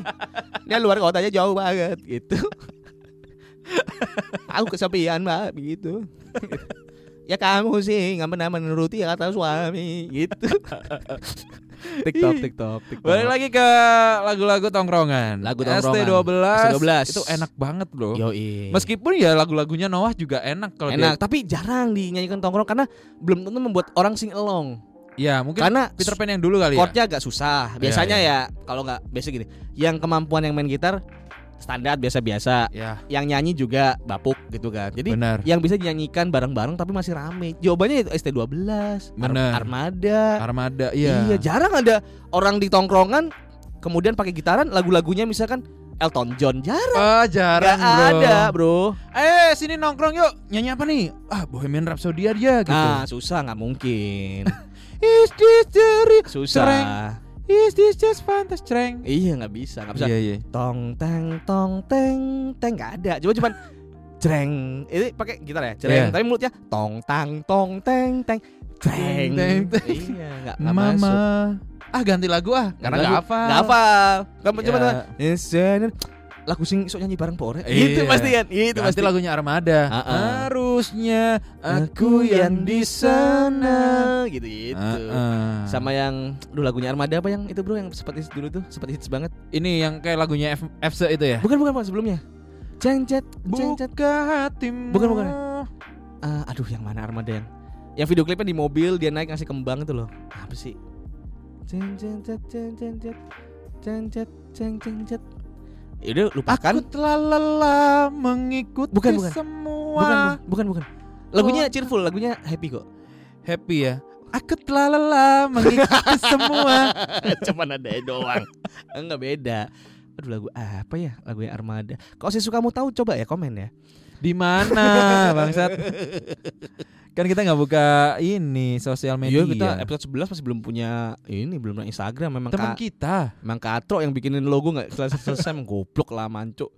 [SPEAKER 1] dia luar kotanya jauh banget gitu [LAUGHS] aku kesepian mbak begitu [LAUGHS] ya kamu sih nggak pernah menuruti kata suami gitu [LAUGHS] TikTok TikTok TikTok
[SPEAKER 2] Balik lagi ke lagu-lagu tongkrongan
[SPEAKER 1] Lagu tongkrongan.
[SPEAKER 2] ST12
[SPEAKER 1] ST12.
[SPEAKER 2] Itu enak banget bro
[SPEAKER 1] Yoi.
[SPEAKER 2] Meskipun ya lagu-lagunya Noah juga enak kalau
[SPEAKER 1] enak tapi jarang dinyanyikan tongkrong karena belum tentu membuat orang sing along
[SPEAKER 2] dia- Ya mungkin
[SPEAKER 1] karena
[SPEAKER 2] Peter Pan yang dulu kali
[SPEAKER 1] Kan
[SPEAKER 2] ya
[SPEAKER 1] chordnya agak susah. Biasanya
[SPEAKER 2] iya.
[SPEAKER 1] ya kalau nggak biasa gini, yang kemampuan yang main gitar standar biasa-biasa,
[SPEAKER 2] Ya
[SPEAKER 1] yang nyanyi juga bapuk gitu kan. Jadi
[SPEAKER 2] benar
[SPEAKER 1] yang bisa dinyanyikan bareng-bareng tapi masih rame. Jawabannya itu ST12, Ar-
[SPEAKER 2] Bener.
[SPEAKER 1] Armada.
[SPEAKER 2] Armada iya
[SPEAKER 1] Iya, jarang ada orang di tongkrongan kemudian pakai gitaran lagu-lagunya misalkan Elton John jarang
[SPEAKER 2] Ah, jarang
[SPEAKER 1] nggak
[SPEAKER 2] bro
[SPEAKER 1] ada, Bro.
[SPEAKER 2] Eh sini nongkrong yuk Nyanyi apa nih? Ah Bohemian Rhapsody aja gitu
[SPEAKER 1] Nah, susah nggak
[SPEAKER 2] [LAUGHS]
[SPEAKER 1] mungkin.
[SPEAKER 2] Is this the re- Cereng.
[SPEAKER 1] Susah.
[SPEAKER 2] Is this just fantastic Cereng.
[SPEAKER 1] Iya, nggak bisa, nggak bisa.
[SPEAKER 2] Iya iya
[SPEAKER 1] tong teng tong teng teng nggak ada cuma
[SPEAKER 2] [LAUGHS]
[SPEAKER 1] cuman jreng ini pakai gitar ya jreng
[SPEAKER 2] Iya.
[SPEAKER 1] tapi mulutnya tong tang tong teng teng jreng
[SPEAKER 2] Teng, teng, teng.
[SPEAKER 1] iya nggak nggak
[SPEAKER 2] Mama
[SPEAKER 1] masuk
[SPEAKER 2] Ah ganti lagu ah Karena
[SPEAKER 1] Ganti
[SPEAKER 2] gak
[SPEAKER 1] lagu.
[SPEAKER 2] hafal
[SPEAKER 1] nggak hafal kamu
[SPEAKER 2] Iya.
[SPEAKER 1] cuma cuman lagu sing sok nyanyi bareng pore
[SPEAKER 2] Iya.
[SPEAKER 1] itu pasti kan itu
[SPEAKER 2] Ganti
[SPEAKER 1] pasti
[SPEAKER 2] lagunya Armada
[SPEAKER 1] Ah, ah.
[SPEAKER 2] Harusnya aku yang di sana
[SPEAKER 1] gitu gitu
[SPEAKER 2] Ah, ah.
[SPEAKER 1] sama yang dulu lagunya Armada apa yang itu bro yang sempat hits dulu tuh sempat hits banget
[SPEAKER 2] Ini yang kayak lagunya F FC itu ya
[SPEAKER 1] bukan bukan bukan sebelumnya Cengcet, cengcet,
[SPEAKER 2] Buka hatimu
[SPEAKER 1] Bukan, bukan. Ah, aduh yang mana Armada yang yang video klipnya di mobil dia naik ngasih kembang itu loh apa sih ceng ceng cet ceng ceng cet ceng cet ceng ceng cet ya udah lupakan
[SPEAKER 2] Aku telah lelah mengikuti
[SPEAKER 1] Bukan, bukan.
[SPEAKER 2] semua
[SPEAKER 1] bukan bu- bukan bukan lagunya cheerful lagunya happy kok
[SPEAKER 2] Happy ya Aku telah lelah
[SPEAKER 1] [LAUGHS]
[SPEAKER 2] mengikuti semua
[SPEAKER 1] [LAUGHS] cuman ada doang [LAUGHS] enggak beda aduh lagu apa ya lagunya Armada kalau sih suka mau tahu coba ya komen ya
[SPEAKER 2] di mana bangsat Kan kita nggak buka ini sosial media
[SPEAKER 1] Iya kita episode 11 masih belum punya ini belum punya Instagram memang
[SPEAKER 2] Teman
[SPEAKER 1] Kak-
[SPEAKER 2] kita
[SPEAKER 1] Mang Katro yang bikinin logo nggak selesai selesai emang goblok lah manco.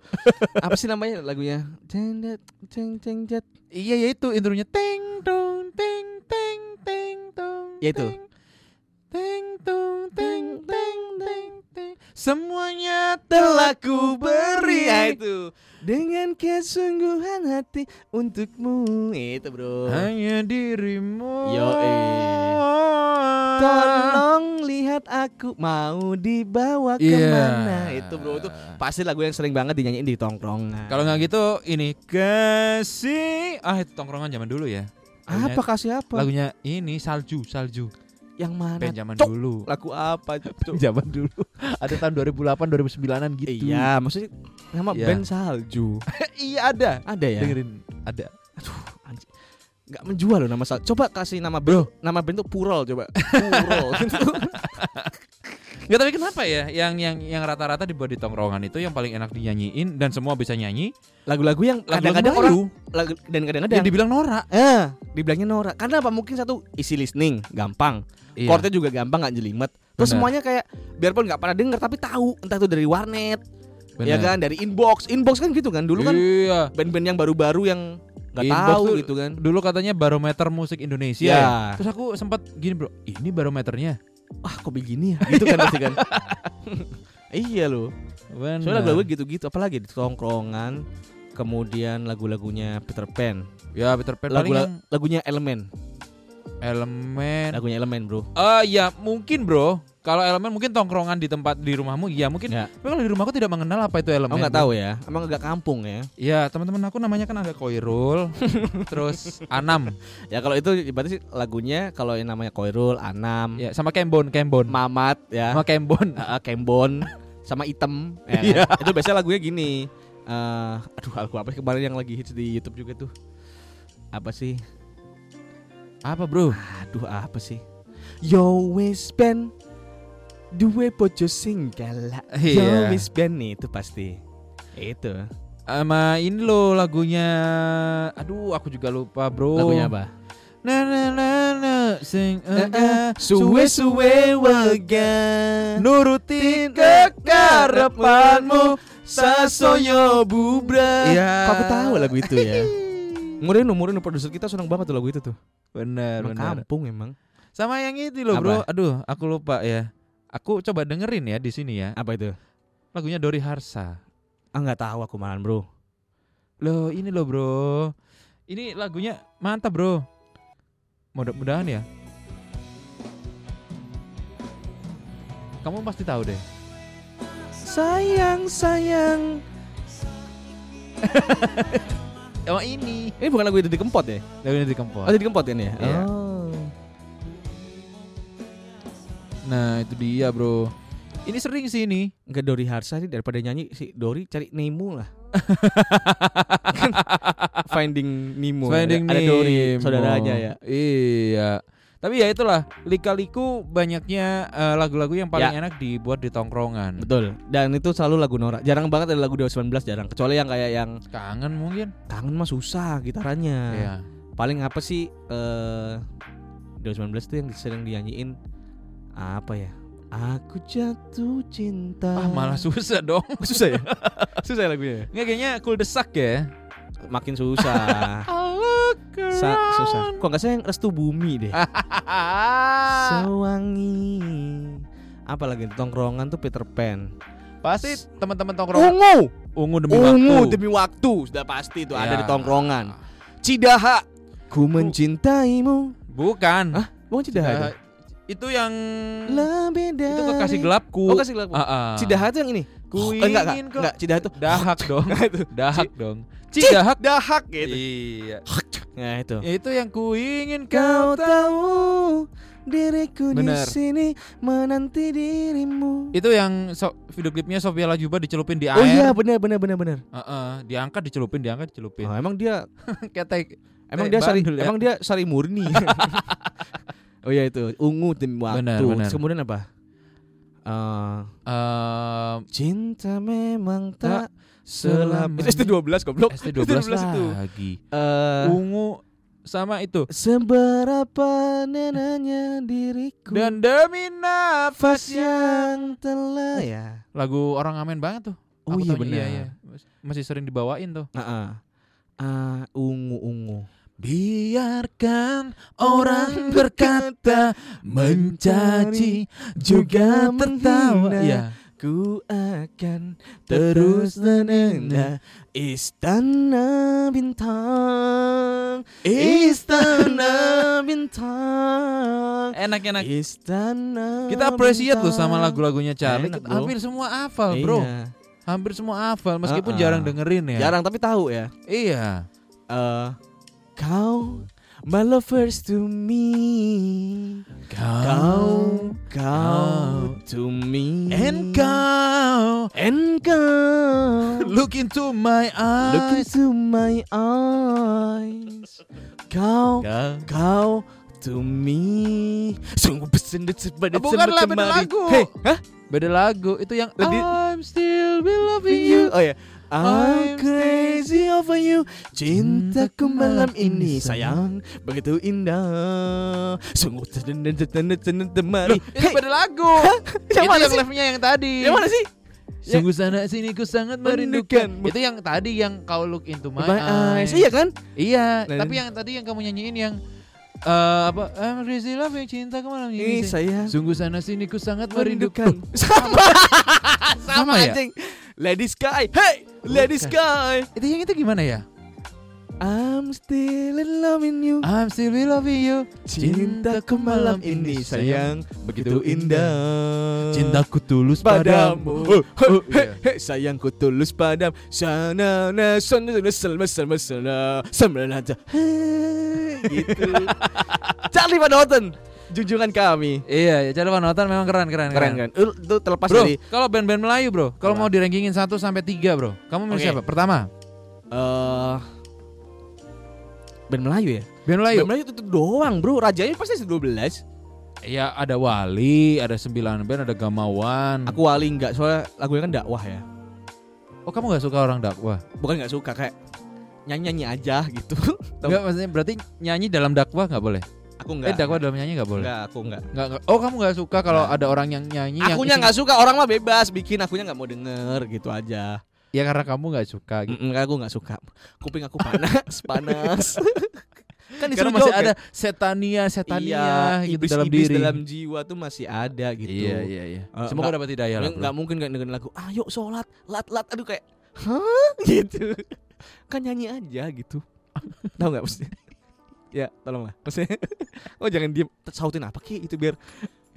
[SPEAKER 1] Apa sih namanya lagunya? Ceng det, ceng ceng jet.
[SPEAKER 2] Iya ya itu intronya Teng tong teng teng teng tong
[SPEAKER 1] Ya itu.
[SPEAKER 2] teng. Teng tong teng teng teng teng Semuanya telah ku beri
[SPEAKER 1] Ah, itu dengan kesungguhan hati untukmu itu bro.
[SPEAKER 2] Hanya dirimu
[SPEAKER 1] Yoi. Tolong lihat aku mau dibawa
[SPEAKER 2] Iya.
[SPEAKER 1] kemana itu bro itu pasti lagu yang sering banget dinyanyiin di tongkrongan.
[SPEAKER 2] Kalau nggak gitu ini kasih ah itu tongkrongan zaman dulu ya. Lagunya-
[SPEAKER 1] apa kasih apa?
[SPEAKER 2] Lagunya ini salju salju
[SPEAKER 1] yang mana?
[SPEAKER 2] band zaman
[SPEAKER 1] Cok?
[SPEAKER 2] dulu.
[SPEAKER 1] Lagu apa? Cok?
[SPEAKER 2] Zaman dulu. Ada tahun 2008 2009-an gitu.
[SPEAKER 1] Iya, maksudnya nama
[SPEAKER 2] Iya.
[SPEAKER 1] band Salju.
[SPEAKER 2] iya ada.
[SPEAKER 1] Ada ya?
[SPEAKER 2] Dengerin ada.
[SPEAKER 1] nggak menjual loh nama sal. Coba kasih nama bro, nama band tuh Purol [LAUGHS] coba. Purol.
[SPEAKER 2] Nggak tapi kenapa ya yang yang yang rata-rata dibuat di tongkrongan itu yang paling enak dinyanyiin dan semua bisa nyanyi.
[SPEAKER 1] Lagu-lagu yang kadang-kadang orang
[SPEAKER 2] lagu-lagu
[SPEAKER 1] lagu, dan
[SPEAKER 2] Melayu yang
[SPEAKER 1] kadang-kadang
[SPEAKER 2] dibilang norak.
[SPEAKER 1] [LAUGHS] eh dibilangnya Nora. Karena apa? Mungkin satu isi listening gampang,
[SPEAKER 2] Iya.
[SPEAKER 1] chordnya juga gampang nggak jelimet. Terus
[SPEAKER 2] Benar.
[SPEAKER 1] semuanya kayak biarpun nggak pernah denger tapi tahu entah itu dari warnet,
[SPEAKER 2] Benar.
[SPEAKER 1] ya kan, dari inbox. Inbox kan gitu kan. Dulu kan
[SPEAKER 2] Iya.
[SPEAKER 1] band-band yang baru-baru yang nggak
[SPEAKER 2] Inbox
[SPEAKER 1] tahu
[SPEAKER 2] tuh
[SPEAKER 1] gitu kan.
[SPEAKER 2] Dulu katanya barometer musik Indonesia.
[SPEAKER 1] Ya.
[SPEAKER 2] ya. Terus aku sempat gini, Bro. Ini barometernya.
[SPEAKER 1] Wah, kok begini ya? Gitu kan pasti [LAUGHS] kan. iya loh.
[SPEAKER 2] Benar.
[SPEAKER 1] Soalnya lagu-lagu gitu-gitu apalagi di tongkrongan kemudian lagu-lagunya Peter Pan,
[SPEAKER 2] Ya Peter Pan
[SPEAKER 1] lagu
[SPEAKER 2] paling yang
[SPEAKER 1] lagunya Elemen,
[SPEAKER 2] elemen.
[SPEAKER 1] lagunya Elemen bro.
[SPEAKER 2] Eh ya mungkin bro. Kalau elemen mungkin tongkrongan di tempat di rumahmu. Ya Oh, mungkin.
[SPEAKER 1] Ya.
[SPEAKER 2] Tapi kalau di rumahku tidak mengenal apa itu elemen.
[SPEAKER 1] Aku nggak tahu ya, emang agak kampung ya.
[SPEAKER 2] Ya teman-teman aku namanya kan ada [LAUGHS] Koirul, terus Anam,
[SPEAKER 1] Ya kalau itu berarti sih lagunya kalau yang namanya Koirul, Anam,
[SPEAKER 2] ya sama Kembon, Kembon,
[SPEAKER 1] Mamat ya,
[SPEAKER 2] sama Kembon.
[SPEAKER 1] eh,
[SPEAKER 2] [LAUGHS]
[SPEAKER 1] Kembon, sama Item. ya kan?
[SPEAKER 2] Iya.
[SPEAKER 1] Itu biasanya lagunya gini. eh aduh, aku apa sih kemarin yang lagi hits di YouTube juga tuh? Apa sih?
[SPEAKER 2] Apa bro?
[SPEAKER 1] Aduh apa sih? Yo always been Due bojo singgala
[SPEAKER 2] Iya.
[SPEAKER 1] Yo always been itu pasti Itu
[SPEAKER 2] Sama ini loh lagunya Aduh aku juga lupa bro
[SPEAKER 1] Lagunya apa?
[SPEAKER 2] Na na na na Sing
[SPEAKER 1] Oh. Eh, eh.
[SPEAKER 2] eh,
[SPEAKER 1] wagan
[SPEAKER 2] Nurutin kekarepanmu Sasoyo bubra
[SPEAKER 1] Iya. Kok aku tahu lagu itu
[SPEAKER 2] Iya.
[SPEAKER 1] [LAUGHS] ya? Murino, Murino produser kita senang banget tuh lagu itu tuh.
[SPEAKER 2] Bener
[SPEAKER 1] Emang
[SPEAKER 2] bener
[SPEAKER 1] kampung emang.
[SPEAKER 2] Sama yang itu loh bro Aduh aku lupa ya Aku coba dengerin ya di sini ya
[SPEAKER 1] Apa itu?
[SPEAKER 2] Lagunya Dori Harsa
[SPEAKER 1] Ah nggak tahu aku malan bro.
[SPEAKER 2] Loh ini loh bro Ini lagunya mantap bro Mudah-mudahan ya Kamu pasti tahu deh
[SPEAKER 1] Sayang, sayang.
[SPEAKER 2] Oh ini
[SPEAKER 1] Ini bukan lagu Didi Kempot ya?
[SPEAKER 2] Lagunya di
[SPEAKER 1] Oh,
[SPEAKER 2] Kempot
[SPEAKER 1] Didi Kempot ini ya?
[SPEAKER 2] Iya.
[SPEAKER 1] Oh.
[SPEAKER 2] Nah itu dia bro Ini sering sih ini
[SPEAKER 1] Enggak Dori Harsa sih daripada nyanyi si Dori cari Nemo lah. [LAUGHS] Finding Nemo. ya.
[SPEAKER 2] Finding
[SPEAKER 1] ada, ada Dori
[SPEAKER 2] Nemo.
[SPEAKER 1] saudaranya ya.
[SPEAKER 2] Iya Tapi ya itulah Lika-liku banyaknya eh, lagu-lagu yang paling
[SPEAKER 1] Ya.
[SPEAKER 2] enak dibuat di tongkrongan
[SPEAKER 1] Betul. Dan itu selalu lagu Nora. Jarang banget ada lagu Dewa 19 jarang. Kecuali yang kayak yang
[SPEAKER 2] Kangen mungkin
[SPEAKER 1] kangen mah susah gitarannya.
[SPEAKER 2] Iya
[SPEAKER 1] Paling apa sih eh Dewa 19 tuh yang sering dinyanyiin apa ya? Aku jatuh cinta.
[SPEAKER 2] Ah malah [LAUGHS] susah dong
[SPEAKER 1] susah [LAUGHS] ya? susah ya lagunya. ya?
[SPEAKER 2] Nggak kayaknya cool desak ya
[SPEAKER 1] Makin susah. Sa- susah. Kok nggak saya yang restu bumi deh.
[SPEAKER 2] [LAUGHS]
[SPEAKER 1] Sewangi. Apalagi di tongkrongan tuh Peter Pan.
[SPEAKER 2] Pasti teman-teman tongkrongan
[SPEAKER 1] Ungu,
[SPEAKER 2] ungu demi
[SPEAKER 1] ungu
[SPEAKER 2] waktu.
[SPEAKER 1] demi waktu sudah pasti itu ada
[SPEAKER 2] Ya.
[SPEAKER 1] di tongkrongan. Cidaha, ku mencintaimu.
[SPEAKER 2] Bukan.
[SPEAKER 1] Hah? Bukan Cidaha.
[SPEAKER 2] Eh,
[SPEAKER 1] itu?
[SPEAKER 2] itu yang
[SPEAKER 1] Lebih dari
[SPEAKER 2] itu kekasih gelapku.
[SPEAKER 1] Oh, kasih gelap.
[SPEAKER 2] Ah, ah.
[SPEAKER 1] Cidaha tuh yang ini.
[SPEAKER 2] Ku
[SPEAKER 1] Eh, enggak, enggak,
[SPEAKER 2] ingin kau-
[SPEAKER 1] enggak, Cidaha tuh
[SPEAKER 2] Dahak
[SPEAKER 1] [LAUGHS]
[SPEAKER 2] dong.
[SPEAKER 1] Nah, itu.
[SPEAKER 2] Dahak dong. Cidahak.
[SPEAKER 1] Dahak gitu.
[SPEAKER 2] Iya.
[SPEAKER 1] Nah, itu.
[SPEAKER 2] Itu yang ku ingin
[SPEAKER 1] Kau
[SPEAKER 2] kau
[SPEAKER 1] tahu diriku
[SPEAKER 2] Bener.
[SPEAKER 1] di sini menanti dirimu.
[SPEAKER 2] itu yang so- video klipnya Sofia Lajuba dicelupin di air.
[SPEAKER 1] Oh iya, benar benar benar benar.
[SPEAKER 2] Eh, eh, diangkat dicelupin, diangkat dicelupin.
[SPEAKER 1] Oh, emang dia
[SPEAKER 2] Kayak tai-
[SPEAKER 1] Emang
[SPEAKER 2] Eh,
[SPEAKER 1] dia sari,
[SPEAKER 2] bandel ya.
[SPEAKER 1] emang dia sari [LAUGHS] murni. oh iya itu ungu demi waktu.
[SPEAKER 2] Benar, benar.
[SPEAKER 1] Terus Kemudian apa? Eh,
[SPEAKER 2] eh,
[SPEAKER 1] cinta memang tak Ah, selama.
[SPEAKER 2] selamanya.
[SPEAKER 1] Eh, Itu 12 goblok.
[SPEAKER 2] ST12
[SPEAKER 1] itu.
[SPEAKER 2] lagi.
[SPEAKER 1] Eh,
[SPEAKER 2] Ungu sama itu.
[SPEAKER 1] seberapa nenanya diriku
[SPEAKER 2] Dan demi
[SPEAKER 1] nafas
[SPEAKER 2] nafas ya.
[SPEAKER 1] yang telah ya.
[SPEAKER 2] Lagu orang ngamen banget tuh.
[SPEAKER 1] Oh
[SPEAKER 2] Aku
[SPEAKER 1] iya
[SPEAKER 2] tahunya,
[SPEAKER 1] benar.
[SPEAKER 2] Masih sering dibawain tuh.
[SPEAKER 1] Heeh. Ah, ungu ungu.
[SPEAKER 2] Biarkan
[SPEAKER 1] orang berkata, mencaci, juga tertawa.
[SPEAKER 2] Iya.
[SPEAKER 1] Ku akan terus menena istana bintang, istana bintang,
[SPEAKER 2] Enak-enak.
[SPEAKER 1] istana.
[SPEAKER 2] Kita appreciate loh sama
[SPEAKER 1] bintang.
[SPEAKER 2] lagu-lagunya Charlie.
[SPEAKER 1] Enak,
[SPEAKER 2] Kita
[SPEAKER 1] bro.
[SPEAKER 2] hampir semua hafal, Bro.
[SPEAKER 1] Iya.
[SPEAKER 2] Hampir semua hafal meskipun
[SPEAKER 1] Uh-uh.
[SPEAKER 2] jarang dengerin ya.
[SPEAKER 1] Jarang tapi tahu ya.
[SPEAKER 2] Iya.
[SPEAKER 1] Eh, kau my lovers to me, kau Mm. kau to me,
[SPEAKER 2] kau
[SPEAKER 1] and
[SPEAKER 2] [LAUGHS]
[SPEAKER 1] kau.
[SPEAKER 2] Look into my
[SPEAKER 1] Look
[SPEAKER 2] eyes.
[SPEAKER 1] into my eyes. Kau,
[SPEAKER 2] Kau.
[SPEAKER 1] kau to me. Sungguh bersendut pada
[SPEAKER 2] Bukanlah beda lagu.
[SPEAKER 1] Hey, hah?
[SPEAKER 2] Beda lagu itu yang
[SPEAKER 1] Lebih-
[SPEAKER 2] I'm still loving you.
[SPEAKER 1] You. Oh ya. I'm
[SPEAKER 2] I'm Hmm,
[SPEAKER 1] crazy over you Cintaku
[SPEAKER 2] Cintaku
[SPEAKER 1] malam
[SPEAKER 2] malam
[SPEAKER 1] ini
[SPEAKER 2] ini,
[SPEAKER 1] sayang Begitu indah Sungguh terdengar terdengar terdengar mari
[SPEAKER 2] Loh, itu pada lagu.
[SPEAKER 1] Yang
[SPEAKER 2] itu
[SPEAKER 1] mana
[SPEAKER 2] yang
[SPEAKER 1] sih?
[SPEAKER 2] live-nya yang tadi.
[SPEAKER 1] Yang mana sih?
[SPEAKER 2] Sungguh sana sini ku sangat merindukan.
[SPEAKER 1] Merindukanmu.
[SPEAKER 2] Itu yang tadi yang kau look into my,
[SPEAKER 1] My eyes
[SPEAKER 2] eyes.
[SPEAKER 1] Iya kan?
[SPEAKER 2] Iya,
[SPEAKER 1] Nah,
[SPEAKER 2] tapi yang tadi yang kamu nyanyiin yang eh, apa? I'm crazy love yang cinta kamu malam
[SPEAKER 1] Ini
[SPEAKER 2] ini.
[SPEAKER 1] sayang
[SPEAKER 2] Sungguh sana sini ku sangat merindukan.
[SPEAKER 1] merindukan [LAUGHS] Sama
[SPEAKER 2] Sama ya?
[SPEAKER 1] anjing Lady Sky Hey Lady
[SPEAKER 2] Bukan.
[SPEAKER 1] Sky
[SPEAKER 2] Itu yang itu gimana ya?
[SPEAKER 1] I'm still in love in you
[SPEAKER 2] I'm still loving you.
[SPEAKER 1] Ah, Cintaku malam ini sayang Begitu indah
[SPEAKER 2] Cintaku
[SPEAKER 1] Eh,
[SPEAKER 2] tulus
[SPEAKER 1] padamu oh,
[SPEAKER 2] padamu. Oh,
[SPEAKER 1] hey,
[SPEAKER 2] iya.
[SPEAKER 1] hey, Sayangku tulus padam Sana na sana sana salma salma sana Sama nata Hey, [LAUGHS] Gitu Charlie Van Houten Junjungan kami
[SPEAKER 2] Iya, ya cara Panotan memang keren keren
[SPEAKER 1] Keren kan Eh, Itu terlepas
[SPEAKER 2] Bro,
[SPEAKER 1] dari
[SPEAKER 2] kalau band-band Melayu, Bro, kalau
[SPEAKER 1] Apa?
[SPEAKER 2] mau di rankingin 1 sampai 3, Bro. Kamu milih
[SPEAKER 1] Oke.
[SPEAKER 2] siapa? Pertama,
[SPEAKER 1] eh, Band Melayu ya
[SPEAKER 2] band Melayu.
[SPEAKER 1] Band Melayu itu, itu doang bro Rajanya pasti 12
[SPEAKER 2] Ya ada Wali, ada Sembilan Band, ada Gamawan.
[SPEAKER 1] Aku wali enggak Soalnya lagunya kan dakwah ya
[SPEAKER 2] Oh kamu nggak suka orang dakwah?
[SPEAKER 1] Bukan nggak suka kayak nyanyi nyanyi aja gitu. Tahu.
[SPEAKER 2] Enggak maksudnya berarti nyanyi dalam dakwah nggak boleh?
[SPEAKER 1] [LAUGHS] aku nggak.
[SPEAKER 2] Eh dakwah dalam nyanyi nggak boleh?
[SPEAKER 1] Nggak, aku nggak.
[SPEAKER 2] Nggak, nggak. Oh kamu nggak suka kalau ada orang yang nyanyi? yang
[SPEAKER 1] Akunya
[SPEAKER 2] isinya-
[SPEAKER 1] nggak suka orang mah bebas bikin. Akunya nggak mau denger gitu aja.
[SPEAKER 2] Ya karena kamu nggak suka. Gitu.
[SPEAKER 1] Mm-mm, aku nggak suka. Kuping aku
[SPEAKER 2] [LAUGHS]
[SPEAKER 1] panas, panas. kan
[SPEAKER 2] Karena
[SPEAKER 1] disuruh
[SPEAKER 2] masih
[SPEAKER 1] joget.
[SPEAKER 2] ada setania, setania
[SPEAKER 1] Iya,
[SPEAKER 2] gitu
[SPEAKER 1] iblis,
[SPEAKER 2] dalam
[SPEAKER 1] iblis
[SPEAKER 2] diri.
[SPEAKER 1] dalam jiwa tuh masih ada gitu.
[SPEAKER 2] Iya iya iya.
[SPEAKER 1] Eh,
[SPEAKER 2] Semoga
[SPEAKER 1] nggak-
[SPEAKER 2] dapat hidayah lah.
[SPEAKER 1] Nggak-
[SPEAKER 2] bro.
[SPEAKER 1] nggak mungkin kan dengerin lagu ayo sholat lat lat aduh kayak hah [LAUGHS] gitu kan nyanyi aja gitu [LAUGHS] tahu nggak maksudnya ya tolonglah maksudnya [LAUGHS] oh jangan diem sautin apa ki itu biar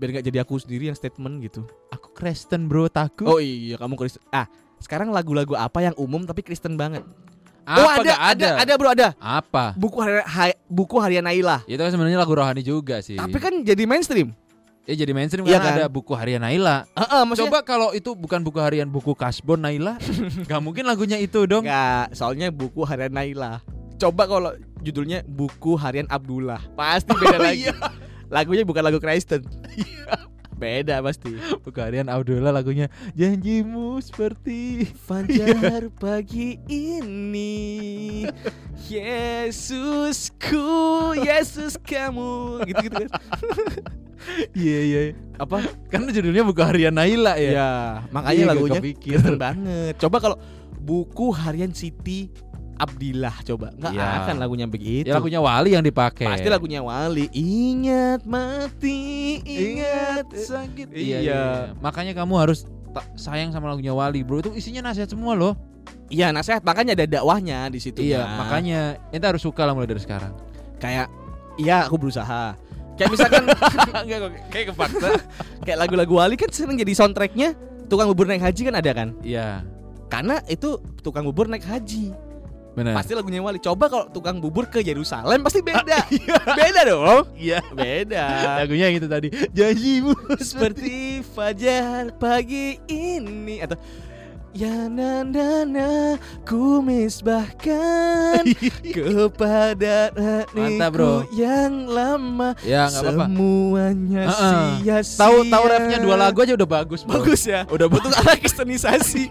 [SPEAKER 1] biar nggak jadi aku sendiri yang statement gitu
[SPEAKER 2] Aku Kristen bro takut.
[SPEAKER 1] oh iya kamu Kristen ah sekarang lagu-lagu apa yang umum tapi Kristen banget
[SPEAKER 2] Apa
[SPEAKER 1] oh ada
[SPEAKER 2] nggak
[SPEAKER 1] ada ada bro ada
[SPEAKER 2] Apa?
[SPEAKER 1] buku hari, Hai- buku harian Naila
[SPEAKER 2] Itu kan sebenarnya lagu rohani juga sih.
[SPEAKER 1] tapi kan jadi mainstream
[SPEAKER 2] ya jadi mainstream
[SPEAKER 1] Iya
[SPEAKER 2] karena
[SPEAKER 1] kan?
[SPEAKER 2] ada buku harian Naila.
[SPEAKER 1] Heeh, maksudnya
[SPEAKER 2] Coba kalau itu bukan buku harian buku Kasbon Naila, [LAUGHS] nggak mungkin lagunya itu dong.
[SPEAKER 1] Enggak, soalnya buku harian Naila. Coba kalau judulnya buku harian Abdullah. [LAUGHS] Pasti beda lagi. Lagunya bukan lagu Kristen. Iya. beda pasti.
[SPEAKER 2] Buku harian Audiola lagunya janjimu seperti
[SPEAKER 1] Fajar [LAUGHS] pagi ini Yesusku, Yesus kamu Gitu-gitu [LAUGHS] kan
[SPEAKER 2] Iya iya.
[SPEAKER 1] Apa?
[SPEAKER 2] Karena Kan judulnya buku harian Naila
[SPEAKER 1] Ya,
[SPEAKER 2] ya.
[SPEAKER 1] makanya
[SPEAKER 2] Iya, gak
[SPEAKER 1] lagunya
[SPEAKER 2] kepikir.
[SPEAKER 1] Kristen banget Coba kalau buku harian Siti Abdillah coba Nggak
[SPEAKER 2] Iya.
[SPEAKER 1] akan lagunya begitu
[SPEAKER 2] Ya lagunya Wali yang dipakai.
[SPEAKER 1] Pasti lagunya Wali. Ingat mati, ingat.
[SPEAKER 2] sakit. Iya,
[SPEAKER 1] Iya.
[SPEAKER 2] iya, iya. Makanya kamu harus ta- sayang sama lagunya Wali, Bro. Itu isinya nasihat semua loh.
[SPEAKER 1] Iya nasihat makanya ada dakwahnya di situ.
[SPEAKER 2] Iya,
[SPEAKER 1] Nah,
[SPEAKER 2] makanya ente harus suka lah mulai dari [LAUGHS] sekarang.
[SPEAKER 1] kayak iya aku berusaha. Kayak
[SPEAKER 2] [LAUGHS]
[SPEAKER 1] misalkan
[SPEAKER 2] Enggak kok, kayak kepaksa.
[SPEAKER 1] kayak lagu-lagu Wali kan sering jadi soundtracknya tukang bubur naik haji kan ada kan?
[SPEAKER 2] Iya,
[SPEAKER 1] Karena itu tukang bubur naik haji.
[SPEAKER 2] benar.
[SPEAKER 1] Pasti lagunya Wali. Coba kalau tukang bubur ke Yerusalem
[SPEAKER 2] Ah,
[SPEAKER 1] pasti beda. beda dong.
[SPEAKER 2] Iya. [LAUGHS]
[SPEAKER 1] Beda.
[SPEAKER 2] Lagunya yang itu tadi. Janjimu
[SPEAKER 1] Seperti fajar pagi ini atau Ya na na na ku [LAUGHS] misbahkan kepada
[SPEAKER 2] Mantap, bro.
[SPEAKER 1] hatiku yang lama
[SPEAKER 2] Ya, enggak apa-apa.
[SPEAKER 1] semuanya
[SPEAKER 2] Heeh.
[SPEAKER 1] sia-sia
[SPEAKER 2] Tahu tahu refnya dua lagu aja udah bagus, Bro.
[SPEAKER 1] bagus ya udah [LAUGHS] butuh arah kristenisasi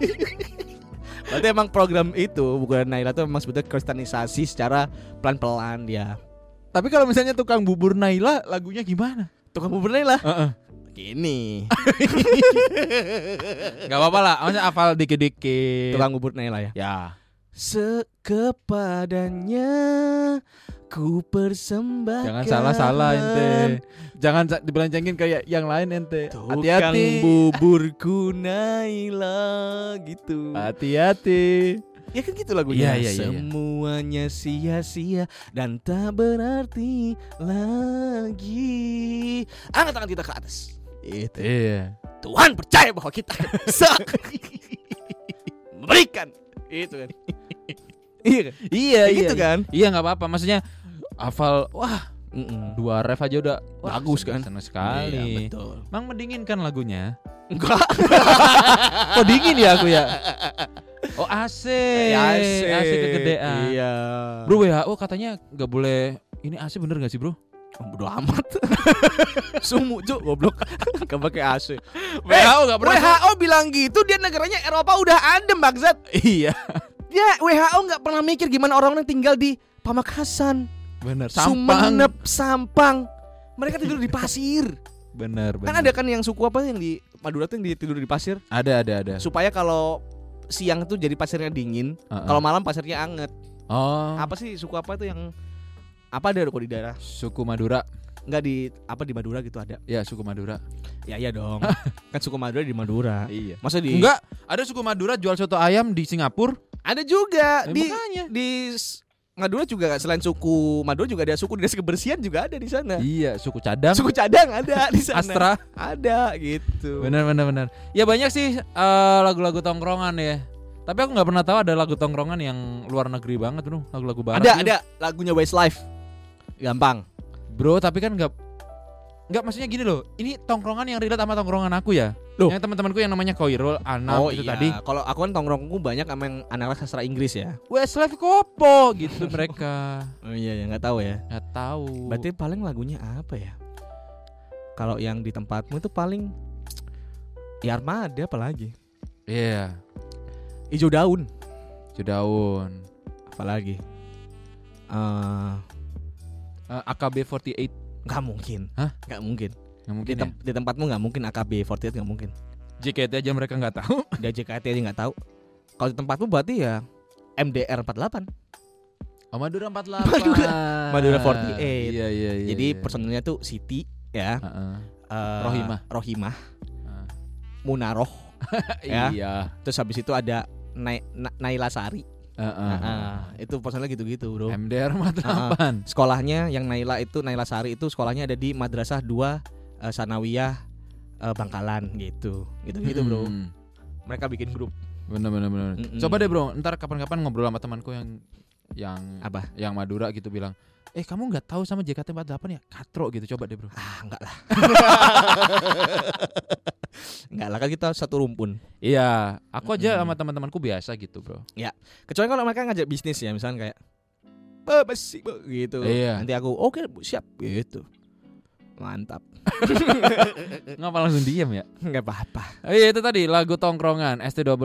[SPEAKER 1] berarti emang program itu bukan Naila tuh emang sebetulnya kristenisasi secara pelan-pelan dia
[SPEAKER 2] Tapi kalau misalnya tukang bubur Naila lagunya gimana?
[SPEAKER 1] tukang bubur Naila
[SPEAKER 2] Heeh.
[SPEAKER 1] gini
[SPEAKER 2] Enggak apa-apa lah, maksudnya hafal
[SPEAKER 1] [LAUGHS]
[SPEAKER 2] dikit-dikit.
[SPEAKER 1] tukang bubur Naila ya
[SPEAKER 2] Ya.
[SPEAKER 1] Sekepadanya ku persembahkan
[SPEAKER 2] Jangan salah-salah ente. Jangan sa- dibelencengin kayak yang lain ente.
[SPEAKER 1] Tukang
[SPEAKER 2] Hati-hati.
[SPEAKER 1] buburku Naila gitu.
[SPEAKER 2] Hati-hati.
[SPEAKER 1] Ya kan gitu lagunya.
[SPEAKER 2] Iya, iya, iya, iya.
[SPEAKER 1] Semuanya sia-sia dan tak berarti lagi. Angkat tangan kita ke atas. Itu.
[SPEAKER 2] Iya.
[SPEAKER 1] Tuhan percaya bahwa kita
[SPEAKER 2] [LAUGHS]
[SPEAKER 1] akan bisa memberikan itu kan. iya kan?
[SPEAKER 2] Iya,
[SPEAKER 1] Kayak
[SPEAKER 2] iya.
[SPEAKER 1] gitu kan?
[SPEAKER 2] Iya, enggak apa-apa. Maksudnya hafal wah,
[SPEAKER 1] Mm-mm.
[SPEAKER 2] dua ref aja udah wah,
[SPEAKER 1] Bagus
[SPEAKER 2] seneng-
[SPEAKER 1] kan?
[SPEAKER 2] Seneng
[SPEAKER 1] Iya,
[SPEAKER 2] sekali.
[SPEAKER 1] betul.
[SPEAKER 2] Mang mendinginkan lagunya.
[SPEAKER 1] Enggak.
[SPEAKER 2] Kok dingin ya aku ya? Oh AC,
[SPEAKER 1] Ya,
[SPEAKER 2] AC, kegedean.
[SPEAKER 1] Iya.
[SPEAKER 2] Bro WHO katanya nggak boleh ini AC bener nggak sih bro?
[SPEAKER 1] Oh, bodo amat. [LAUGHS] Sumu cuk goblok. [LAUGHS] Gak pakai AC. Eh,
[SPEAKER 2] nggak
[SPEAKER 1] WHO bilang gitu dia negaranya Eropa udah adem bangsat.
[SPEAKER 2] Iya
[SPEAKER 1] Dia WHO nggak pernah mikir gimana orang-orang tinggal di Pamekasan,
[SPEAKER 2] bener.
[SPEAKER 1] Sumenep, Sampang. Mereka tidur di [LAUGHS] pasir.
[SPEAKER 2] Bener bener.
[SPEAKER 1] kan ada kan yang suku apa yang di Madura tuh yang di- tidur di pasir
[SPEAKER 2] ada ada ada.
[SPEAKER 1] supaya kalau siang tuh jadi pasirnya dingin,
[SPEAKER 2] Heeh.
[SPEAKER 1] kalau malam pasirnya anget.
[SPEAKER 2] oh
[SPEAKER 1] Apa sih suku apa tuh yang apa ada kok di daerah?
[SPEAKER 2] suku Madura
[SPEAKER 1] Nggak di apa di Madura gitu ada.
[SPEAKER 2] ya suku Madura.
[SPEAKER 1] Ya iya dong. [LAUGHS] kan suku Madura di Madura.
[SPEAKER 2] Iya.
[SPEAKER 1] Masa di
[SPEAKER 2] Enggak ada suku Madura jual soto ayam di Singapura.
[SPEAKER 1] Ada juga
[SPEAKER 2] Eh,
[SPEAKER 1] di
[SPEAKER 2] makanya.
[SPEAKER 1] di s- Madura juga selain suku Madura juga ada suku dinas kebersihan juga ada di sana.
[SPEAKER 2] Iya suku cadang.
[SPEAKER 1] Suku cadang ada [LAUGHS] di sana.
[SPEAKER 2] Astra.
[SPEAKER 1] Ada gitu.
[SPEAKER 2] Bener bener bener. Ya banyak sih eh, lagu-lagu tongkrongan ya. Tapi aku nggak pernah tahu ada lagu tongkrongan yang luar negeri banget bro. Lagu-lagu barat.
[SPEAKER 1] Ada
[SPEAKER 2] gitu.
[SPEAKER 1] ada lagunya Westlife. Gampang.
[SPEAKER 2] Bro, tapi kan nggak nggak maksudnya gini loh. Ini tongkrongan yang relate sama tongkrongan aku ya.
[SPEAKER 1] Loh. Oh,
[SPEAKER 2] Yang teman-temanku yang namanya Koirul, Anam itu tadi.
[SPEAKER 1] Kalau aku kan tongkrongku banyak sama yang anak-anak sastra Inggris ya.
[SPEAKER 2] Westlife Kopo gitu [LAUGHS] mereka.
[SPEAKER 1] Oh iya ya nggak tahu ya.
[SPEAKER 2] nggak tahu.
[SPEAKER 1] Berarti paling lagunya apa ya? Kalau yang di tempatmu itu paling Ya Armada apalagi
[SPEAKER 2] Iya.
[SPEAKER 1] Ijo daun.
[SPEAKER 2] Cedaun.
[SPEAKER 1] Apalagi? Eh,
[SPEAKER 2] Eh, AKB48
[SPEAKER 1] nggak mungkin.
[SPEAKER 2] Hah?
[SPEAKER 1] Nggak mungkin.
[SPEAKER 2] nggak
[SPEAKER 1] Di,
[SPEAKER 2] mungkin
[SPEAKER 1] tem- di tempatmu nggak mungkin AKB 48 nggak mungkin.
[SPEAKER 2] ya. JKT aja mereka nggak
[SPEAKER 1] [LAUGHS]
[SPEAKER 2] tahu.
[SPEAKER 1] Di JKT aja nggak tahu. Kalau di tempatmu berarti ya MDR 48.
[SPEAKER 2] Oh, [LAUGHS] Madura 48.
[SPEAKER 1] Madura- Madura 48.
[SPEAKER 2] Iya iya iya.
[SPEAKER 1] Jadi
[SPEAKER 2] iya.
[SPEAKER 1] personilnya tuh Siti ya.
[SPEAKER 2] Heeh.
[SPEAKER 1] eh,
[SPEAKER 2] Rohimah.
[SPEAKER 1] Rohimah.
[SPEAKER 2] Ah.
[SPEAKER 1] Munaroh. Ya.
[SPEAKER 2] Iya.
[SPEAKER 1] Terus habis itu ada Nai- Na- Naila Sari.
[SPEAKER 2] Heeh.
[SPEAKER 1] Ah, itu personilnya gitu-gitu, Bro.
[SPEAKER 2] MDR 48.
[SPEAKER 1] sekolahnya yang Naila itu Naila Sari itu sekolahnya ada di Madrasah 2 eh, Sanawiyah eh, Bangkalan gitu. Gitu-gitu, Bro.
[SPEAKER 2] Hmm.
[SPEAKER 1] Mereka bikin grup.
[SPEAKER 2] Bener bener bener.
[SPEAKER 1] Mm-mm.
[SPEAKER 2] Coba deh bro, ntar kapan-kapan ngobrol sama temanku yang yang
[SPEAKER 1] Apa?
[SPEAKER 2] Yang Madura gitu bilang, eh kamu nggak tahu sama JKT48 ya? Katro gitu. Coba deh bro.
[SPEAKER 1] Ah, enggak
[SPEAKER 2] [LAUGHS]
[SPEAKER 1] lah. enggak lah kan kita satu rumpun.
[SPEAKER 2] Iya, aku aja
[SPEAKER 1] Mm-mm.
[SPEAKER 2] sama teman-temanku biasa gitu bro.
[SPEAKER 1] Kecuali kalau mereka ngajak bisnis ya, misalnya kayak "Bah, basi, bah," gitu.
[SPEAKER 2] Iya.
[SPEAKER 1] Nanti aku oke, Bu, siap gitu. Mantap. [LAUGHS]
[SPEAKER 2] Ngapa langsung diam ya?
[SPEAKER 1] Enggak apa-apa.
[SPEAKER 2] Oh, iya itu tadi lagu tongkrongan ST12.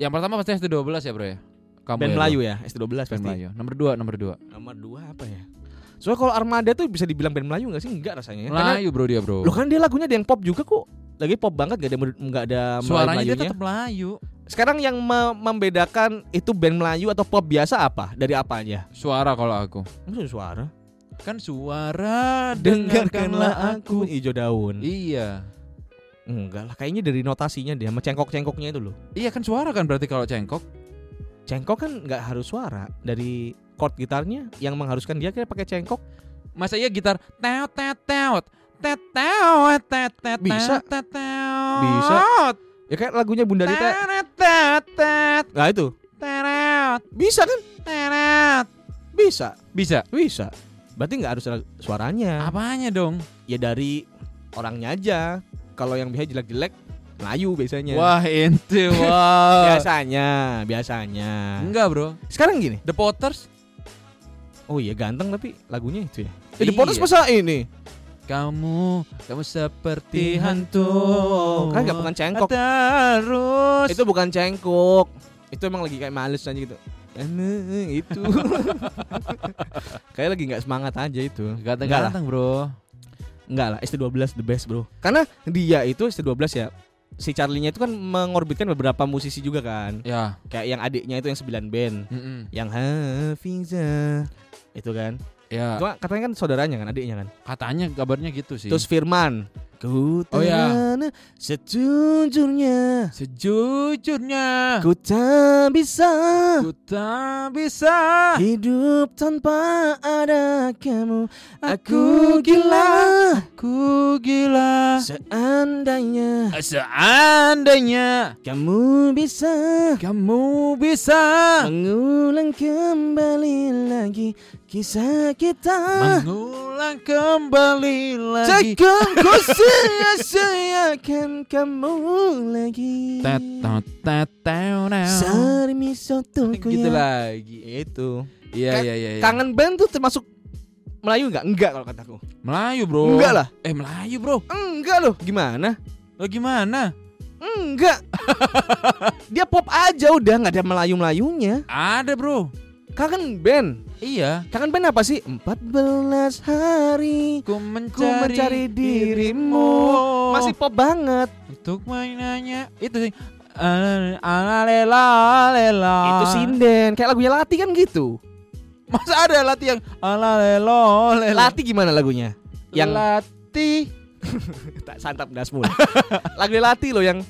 [SPEAKER 2] Yang pertama pasti ST12 ya bro ya. Kamu
[SPEAKER 1] Band
[SPEAKER 2] ya,
[SPEAKER 1] Melayu
[SPEAKER 2] bro?
[SPEAKER 1] ya, ST12
[SPEAKER 2] Band
[SPEAKER 1] pasti.
[SPEAKER 2] Melayu. Nomor dua, nomor dua.
[SPEAKER 1] Nomor dua apa ya? Soalnya kalau Armada tuh bisa dibilang band Melayu nggak sih? Enggak rasanya. ya. Karena-
[SPEAKER 2] Melayu bro dia bro.
[SPEAKER 1] Loh kan dia lagunya ada yang pop juga kok. Lagi pop banget gak ada nggak ada
[SPEAKER 2] Suaranya dia
[SPEAKER 1] Melayu-Melayunya.
[SPEAKER 2] tetap Melayu.
[SPEAKER 1] Sekarang yang me- membedakan itu band Melayu atau pop biasa apa? Dari apanya?
[SPEAKER 2] Suara kalau aku.
[SPEAKER 1] Maksudnya suara.
[SPEAKER 2] Kan suara dengarkanlah aku.
[SPEAKER 1] ijo daun.
[SPEAKER 2] Iya.
[SPEAKER 1] Enggak lah, kayaknya dari notasinya dia sama cengkok-cengkoknya itu loh.
[SPEAKER 2] Iya kan suara kan berarti kalau cengkok.
[SPEAKER 1] Cengkok kan nggak harus suara dari chord gitarnya yang mengharuskan dia kira pakai cengkok.
[SPEAKER 2] Masa iya gitar teot teot teot teot teot teot teot
[SPEAKER 1] Bisa.
[SPEAKER 2] teot teot
[SPEAKER 1] Bisa. Ya kayak lagunya Bunda Rita.
[SPEAKER 2] teot teot teot
[SPEAKER 1] Nah itu.
[SPEAKER 2] teot
[SPEAKER 1] Bisa kan?
[SPEAKER 2] teot
[SPEAKER 1] Bisa.
[SPEAKER 2] bisa
[SPEAKER 1] Bisa. Berarti nggak harus ada suaranya.
[SPEAKER 2] apanya dong
[SPEAKER 1] Ya dari orangnya aja. Kalau yang biasa jelek-jelek Melayu biasanya.
[SPEAKER 2] wah ente wah
[SPEAKER 1] Biasanya, biasanya.
[SPEAKER 2] Ya, enggak bro
[SPEAKER 1] Sekarang gini.
[SPEAKER 2] The Potters
[SPEAKER 1] Oh iya ganteng tapi lagunya itu ya.
[SPEAKER 2] Eh, The Potters
[SPEAKER 1] masa ini?
[SPEAKER 2] kamu kamu seperti
[SPEAKER 1] hantu.
[SPEAKER 2] hantu
[SPEAKER 1] Kan nggak bukan cengkok.
[SPEAKER 2] terus
[SPEAKER 1] Itu bukan cengkok. Itu emang lagi kayak males aja gitu. Ene, [LAUGHS] itu. kayak lagi nggak semangat aja itu. Nggak lah.
[SPEAKER 2] ganteng-ganteng bro
[SPEAKER 1] Enggak lah, ST12 the best, Bro. Karena dia itu ST12 ya. Si Charlie-nya itu kan mengorbitkan beberapa musisi juga kan.
[SPEAKER 2] ya
[SPEAKER 1] Kayak yang adiknya itu yang 9 band,
[SPEAKER 2] mm-mm.
[SPEAKER 1] yang Hafiza itu kan.
[SPEAKER 2] ya
[SPEAKER 1] Cuma katanya kan saudaranya kan, adiknya kan.
[SPEAKER 2] katanya kabarnya gitu sih
[SPEAKER 1] Terus Firman. Ku
[SPEAKER 2] Oh, ya.
[SPEAKER 1] terana sejujurnya
[SPEAKER 2] sejujurnya
[SPEAKER 1] ku tak bisa
[SPEAKER 2] Ku tak bisa
[SPEAKER 1] hidup tanpa ada kamu.
[SPEAKER 2] Aku gila. Ku gila
[SPEAKER 1] Seandainya
[SPEAKER 2] Seandainya
[SPEAKER 1] kamu bisa
[SPEAKER 2] Kamu bisa
[SPEAKER 1] Mengulang kembali lagi kisah kita
[SPEAKER 2] Mengulang kembali lagi
[SPEAKER 1] Takkan ku sia-siakan kamu lagi
[SPEAKER 2] Tet, tet, tet, teo, neo.
[SPEAKER 1] Sari miso tuku
[SPEAKER 2] Gitu
[SPEAKER 1] ya
[SPEAKER 2] lagi
[SPEAKER 1] Itu
[SPEAKER 2] Iya
[SPEAKER 1] Kan-
[SPEAKER 2] iya iya iya.
[SPEAKER 1] Kangen band tuh termasuk Melayu nggak? Enggak kalau kataku
[SPEAKER 2] Melayu bro
[SPEAKER 1] Enggak lah
[SPEAKER 2] Eh Melayu bro
[SPEAKER 1] Enggak loh Gimana?
[SPEAKER 2] Lo gimana?
[SPEAKER 1] Enggak Dia pop aja udah nggak ada Melayu-Melayunya
[SPEAKER 2] Ada bro
[SPEAKER 1] Kangen band
[SPEAKER 2] Iya
[SPEAKER 1] Kangen band apa sih? 14 hari
[SPEAKER 2] Ku mencari,
[SPEAKER 1] Ku mencari dirimu.
[SPEAKER 2] Oh.
[SPEAKER 1] Masih pop banget.
[SPEAKER 2] Untuk mainannya Itu sih Eh, Alalela Alela
[SPEAKER 1] Itu sinden, kayak lagunya Lati kan gitu.
[SPEAKER 2] Masa ada latih yang alalelo lelo.
[SPEAKER 1] Lati gimana lagunya? Yang
[SPEAKER 2] latih
[SPEAKER 1] tak santap [LAUGHS] dasmu. lah. Lagu Lati loh yang